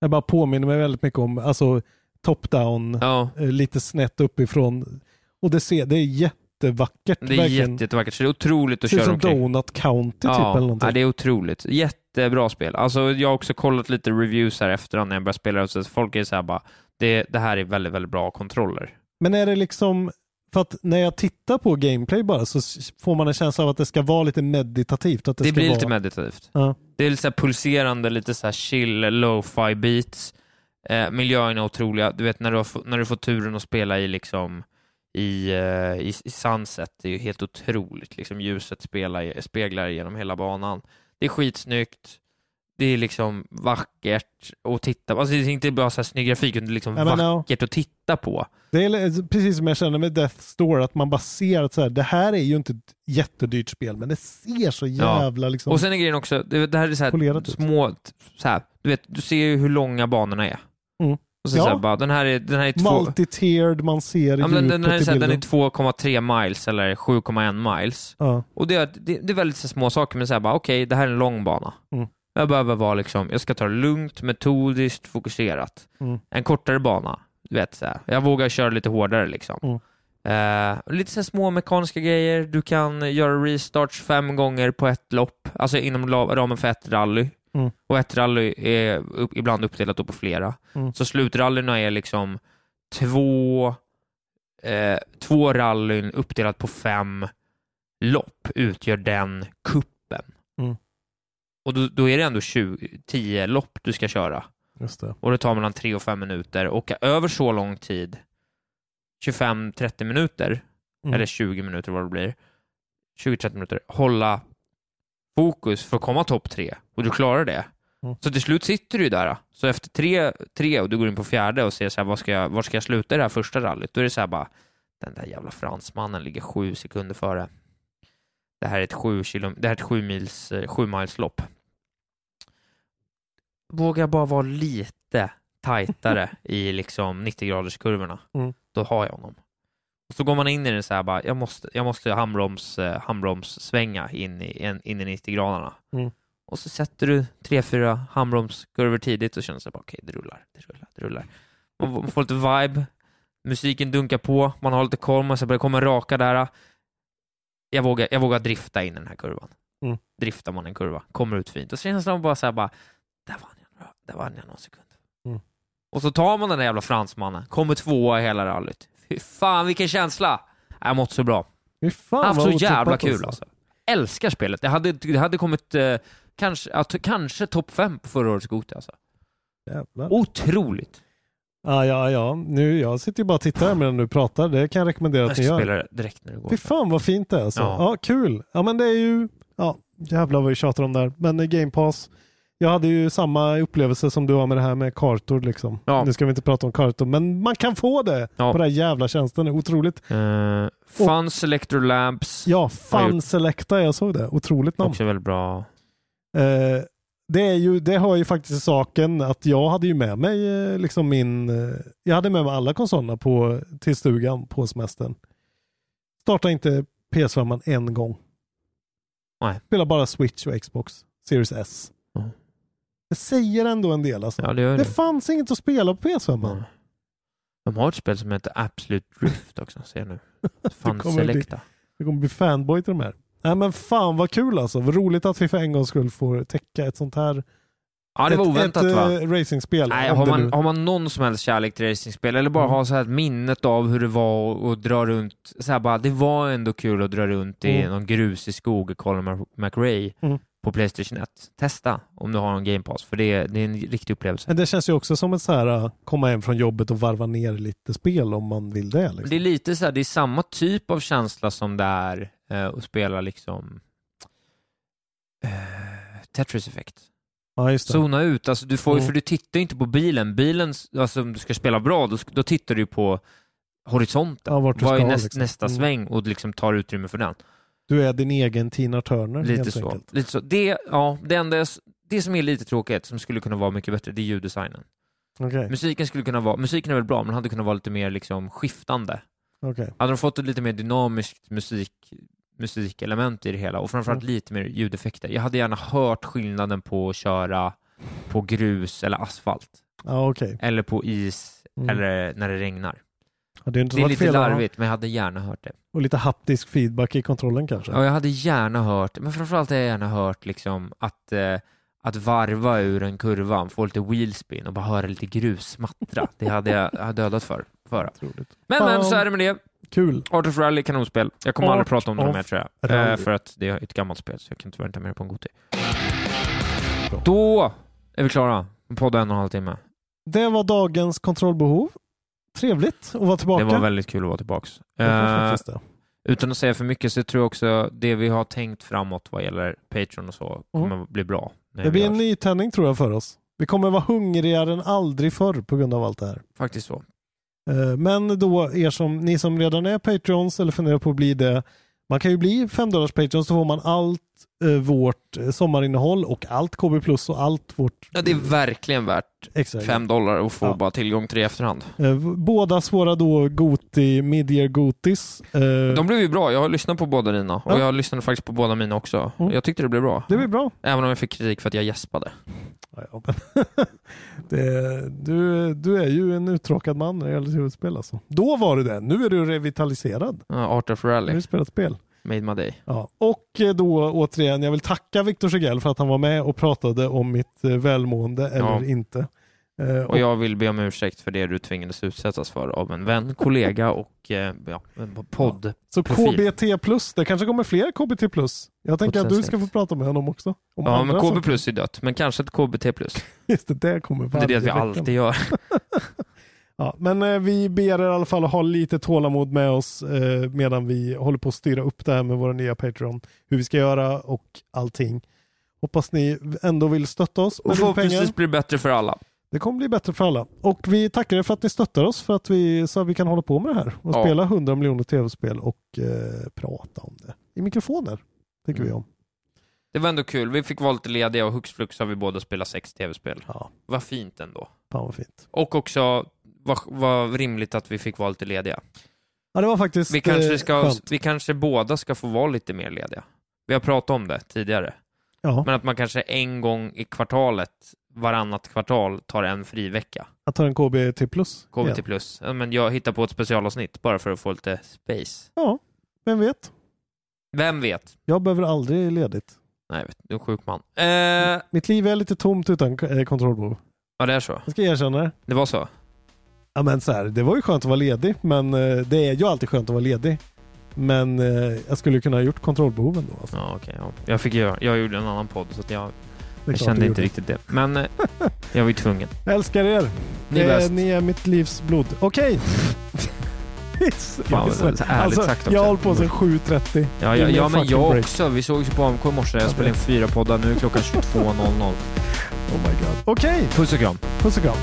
Det bara påminner mig väldigt mycket om alltså, top-down, Ja. eh, lite snett uppifrån. Och det, ser, det är jättevackert. Det är verkligen. jätte, jättevackert. Så det är otroligt att ser ut köra som omkring. Donut County typ eller någonting. ja, det är otroligt. Jättebra spel. Alltså, jag har också kollat lite reviews här efterhand när jag började spela. Så att folk är så här bara, det, det här är väldigt, väldigt bra kontroller. Men är det liksom, för att när jag tittar på gameplay bara så s- får man en känsla av att det ska vara lite meditativt. Att det Det, ska blir vara... lite meditativt. Ja. Det är lite så här pulserande, lite så här chill, lo-fi beats. Eh, miljöerna är otroliga. Du vet när du, har, få- när du får turen att spela i liksom i, eh, i, i sunset, det är ju helt otroligt. Liksom, ljuset spelar, speglar genom hela banan. Det är skitsnyggt. Det är liksom vackert att titta på. Alltså, det är inte bara så här snygg grafik, utan det är liksom Ja, men ja. vackert att titta på. Det är li- precis som jag känner med Death Store, att man bara ser att så här, det här är ju inte ett jättedyrt spel, men det ser så Ja. jävla liksom... Och sen är grejen också, det, det här är så Polerat här ut. små, så här, du vet, du ser ju hur långa banorna är. Mm. Och sen Ja. så här, bara, den här är, den här är två... Multi-tiered, man ser Ja, men den, djupet här är i så här, bilden. den är 2,3 miles eller 7,1 miles. ja. Och det, är- det, det är väldigt så här små saker, men så här bara okej, det här är en lång bana. Mm. Jag behöver vara liksom, jag ska ta det lugnt, metodiskt, fokuserat. Mm. En kortare bana, du vet så här. Jag vågar köra lite hårdare liksom. Mm. Eh, lite så här små mekaniska grejer, du kan göra restarts fem gånger på ett lopp, alltså inom la- ramen för ett rally. Mm. Och ett rally är upp, ibland uppdelat då på flera. Mm. Så slutrallyna är liksom två, eh, två rallyn uppdelat på fem lopp utgör den kuppen. Mm. Och då, då är det ändå 20, 10 lopp du ska köra. Just det. Och det tar mellan 3 och 5 minuter. Och över så lång tid, 25-30 minuter, Mm. eller 20 minuter vad det blir, 20-30 minuter, hålla fokus för att komma topp 3. Och du klarar det. Mm. Så till slut sitter du ju där. Så efter tre, tre och du går in på fjärde och ser så här, var ska jag, var ska jag sluta i det här första rallyt? Då är det så här bara, den där jävla fransmannen ligger sju sekunder före. Det här är ett sju, kilo, det här är ett sju, mils, eh, sju miles lopp. vågar jag bara vara lite tajtare i liksom 90-graderskurvorna, Mm. då har jag honom. Och så går man in i den så här bara, jag måste, jag måste handbroms, eh, handbromssvänga in i, en, in i 90-graderna. Mm. Och så sätter du tre, fyra handbromskurvor tidigt och känner så här bara, okej, det rullar, det rullar, det rullar. Man får- man får lite vibe, musiken dunkar på, man har lite koll, man så börjar komma raka där. Jag vågar, jag vågar drifta in i den här kurvan. Mm. Driftar man en kurva, kommer ut fint. Och så känns det som bara så här bara, där vann jag, några- där vann jag någon sekund. Mm. Och så tar man den där jävla fransmannen, kommer tvåa i hela rallyt. Fy fan vilken känsla! Jag har mått så bra. Fy fan Jag har haft vad så jävla otippat kul alltså. Älskar spelet. Det hade, det hade kommit eh, kanske, ja, t- kanske topp fem på förra årets Goti alltså. Jävlar. Otroligt. Ja, ja, ja. Nu, jag sitter ju bara och tittar här medan du pratar. Det kan jag rekommendera Jag att ni ska gör. spela det direkt när det går. Fy fan vad fint det är alltså. Ja. Ja. kul. Ja, men det är ju... Ja, jävlar vad vi tjatar om där. Men eh, Game Pass. Jag hade ju samma upplevelse som du har med det här med kartor liksom. Ja. Nu ska vi inte prata om kartor, men man kan få det Ja. på den här jävla tjänsten. Det är Otroligt. Eh, Fun Selector Labs, Ja, Har fan gjort- Selecta, jag såg det. Otroligt namn. också väldigt bra. Eh, det, är ju, det har ju faktiskt i saken att jag hade ju med mig eh, liksom min, eh, jag hade med mig alla konsolerna på, till stugan på semestern. Startade inte PS5 en gång. Nej. Spelade bara Switch och Xbox Series S. Mm. Det säger ändå en del alltså. Ja, det gör det det. fanns inget att spela på PS5. Mm. De har ett spel som heter Absolute Drift också, ser jag nu. Fun kommer bli- Selecta. Jag kommer bli fanboy till de här. Nej men fan vad kul alltså. Vad roligt att vi för en gångs skull får täcka ett sånt här Ja, det var ett, oväntat ett, va? eh, racingspel. Nej, om har det man, nu- har man någon som helst kärlek till racingspel eller bara Mm. ha så här ett minnet av hur det var och, och dra runt, så här bara, det var ändå kul att dra runt i Mm. någon grusig skog i Colin Mac- McRae Mm. på Playstation 1. Testa om du har någon Game Pass, för det är, det är en riktig upplevelse. Men det känns ju också som ett så här äh, komma hem från jobbet och varva ner lite spel om man vill det. Liksom. Det är lite så här, det är samma typ av känsla som det är eh, att spela liksom eh, Tetris Effect. Ja, just det. Zona ut, alltså du får ju, Mm. för du tittar ju inte på bilen. Bilen, alltså om du ska spela bra, då, då tittar du ju på horisonten. Ja, vart du Vad är ska, näst, liksom. nästa Mm. sväng och liksom tar utrymme för den. Du är din egen Tina Turner Lite helt så. enkelt. Lite så. Det, ja, det, enda, jag s- det som är lite tråkigt, som skulle kunna vara mycket bättre, det är ljuddesignen. Okej, Musiken skulle kunna vara, musiken är väl bra, men hade kunnat vara lite mer liksom skiftande. okej. Hade de fått ett lite mer dynamiskt musik, musikelement i det hela och framförallt lite mer ljudeffekter. Jag hade gärna hört skillnaden på att köra på grus eller asfalt. Ja, okej. eller på is Mm. eller när det regnar. Ja, Det är inte Det är varit lite fel att ha- larvigt, men jag hade gärna hört det. Och lite haptisk feedback i kontrollen kanske. Ja, jag hade gärna hört, men framförallt hade jag gärna hört liksom att, eh, att varva ur en kurva, få lite wheelspin och bara höra lite grus smattra. Det hade jag, jag hade dödat för. för. Otroligt. Men, Fan. men så är det med det. Kul. Art of Rally, kanonspel. Jag kommer Art aldrig prata om det of mer tror jag. Rally. Eh, för att det är ett gammalt spel, så jag kan tyvärr inte ha med det på en god tid. Då är vi klara. Podd en och en halv timme. Det var dagens kontrollbehov. Trevligt att vara Det tillbaka. var väldigt kul att vara tillbaks. Det var Eh, faktiskt det. Utan att säga för mycket så tror jag också det vi har tänkt framåt vad gäller Patreon och så Mm. kommer bli bra. när det vi blir en hörs. ny tändning tror jag för oss. Vi kommer vara hungrigare än aldrig förr på grund av allt det här. Faktiskt så. Eh, Men då, er som, ni som redan är Patreons eller funderar på att bli det, man kan ju bli 5 dollars Patreon så får man allt eh, vårt eh, sommarinnehåll och allt KB Plus och allt vårt Ja, det är verkligen värt extra. fem dollar att få Ja. bara tillgång till det i efterhand. Eh, v- Båda svåra då Goti, Midyear Gotis. Eh, De blev ju bra. Jag har lyssnat på båda dina och Ja. jag lyssnade faktiskt på båda mina också. Mm. Jag tyckte det blev bra. Det blir bra. Även om jag fick kritik för att jag gäspade. Ja, ja, men det, du, du är ju en uttråkad man när det gäller tv-spel alltså. Då var du det. Nu är du revitaliserad. Ja, Art of Nu har Rally, du spelat spel. made my day. Ja. Och eh, då återigen, jag vill tacka Viktor Segell för att han var med och pratade om mitt eh, välmående eller Ja. inte. Eh, Och jag vill be om ursäkt för det du tvingades utsättas för av en vän, kollega och eh, ja, en podd. så profil. KBT plus, det kanske kommer fler KBT plus. Jag tänker att du ska få Potentiellt. prata med honom också. Om Ja, andra men KB saker. plus är dött, men kanske ett KBT plus. Just det, det kommer Det är det varje vi vecka. alltid gör. Ja, men eh, vi ber er i alla fall att ha lite tålamod med oss eh, medan vi håller på att styra upp det här med våra nya Patreon. Hur vi ska göra och allting. Hoppas ni ändå vill stötta oss med Och lite pengar. förhoppningsvis blir det bättre för alla. Det kommer bli bättre för alla. Och vi tackar er för att ni stöttar oss för att vi, så att vi kan hålla på med det här och Ja. spela 100 miljoner tv-spel och eh, prata om det i mikrofoner. Tycker vi om. Det var ändå kul. Vi fick vara lite lediga och hux flux har vi båda spelat sex tv-spel. Ja, Vad fint ändå. fan vad fint. Och också vad vad rimligt att vi fick vara lite lediga. Ja, det var faktiskt Vi kanske, eh, ska, skönt. vi kanske båda ska få vara lite mer lediga. Vi har pratat om det tidigare. Ja, Men att man kanske en gång i kvartalet, varannat kvartal, tar en fri vecka. jag tar en KBT plus. KBT igen. plus. Ja, men jag hittar på ett specialavsnitt bara för att få lite space. Ja, vem vet? Vem vet? Jag behöver aldrig ledigt. Nej, jag vet, du är en sjuk man. Eh, Mitt liv är lite tomt utan eh, kontrollbehov. ja, det är så. Jag ska erkänna det. Det var så. Ja, men så här, det var ju skönt att vara ledig, men eh, det är ju alltid skönt att vara ledig. Men eh, jag skulle kunna ha gjort kontrollbehoven då. Alltså. Ja, okej. ja. Jag fick göra, jag gjorde en annan podd så att jag, Det är jag klart du kände inte gjorde. riktigt det. Men eh, jag var ju tvungen. Jag älskar er. Ni är Eh, bäst. ni är mitt livs blod. Okej. Alltså, vad så ärligt sagt också. jag har hållit på sedan 7.30. Ja, ja, Ingen ja men fucking jag break. också. Vi sågs ju på AMK i morse. Jag Jag spelade in vet. fyra poddar. Nu är klockan 22.00. Oh my god. Okej, Puss och kram. puss och kram.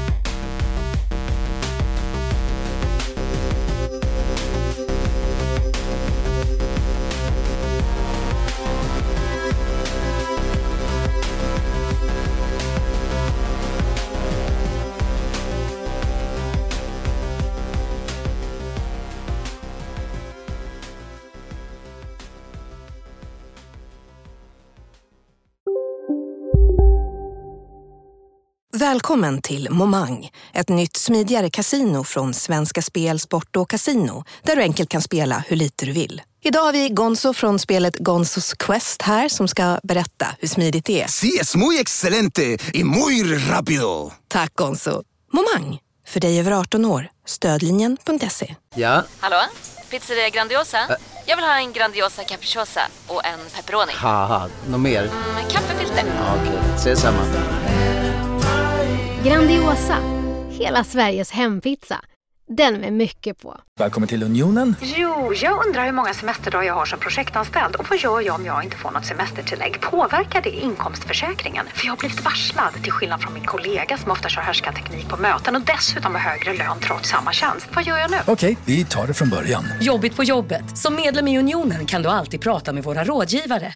Välkommen till Momang, ett nytt smidigare casino från Svenska Spel, Sport och Casino där du enkelt kan spela hur lite du vill. Idag har vi Gonzo från spelet Gonzos Quest här som ska berätta hur smidigt det är. Sí, es muy excelente y muy rápido. Tack Gonzo! Momang, för dig över 18 år. Stödlinjen.se. Ja, Hallå? Pizzeria Grandiosa? Jag vill ha en Grandiosa capriciosa och en pepperoni. haha, något mer? Med kaffefilter. Ja, Okej, ses samma. Grandiosa, hela Sveriges hempizza. Den med mycket på. Välkommen till Unionen. Jo, jag undrar hur många semesterdagar jag har som projektanställd och vad gör jag om jag inte får något semestertillägg? Påverkar det inkomstförsäkringen? För jag har blivit varslad, till skillnad från min kollega som ofta kör härskarteknik på möten och dessutom har högre lön trots samma tjänst. Vad gör jag nu? Okej, vi tar det från början. Jobbigt på jobbet. Som medlem i Unionen kan du alltid prata med våra rådgivare.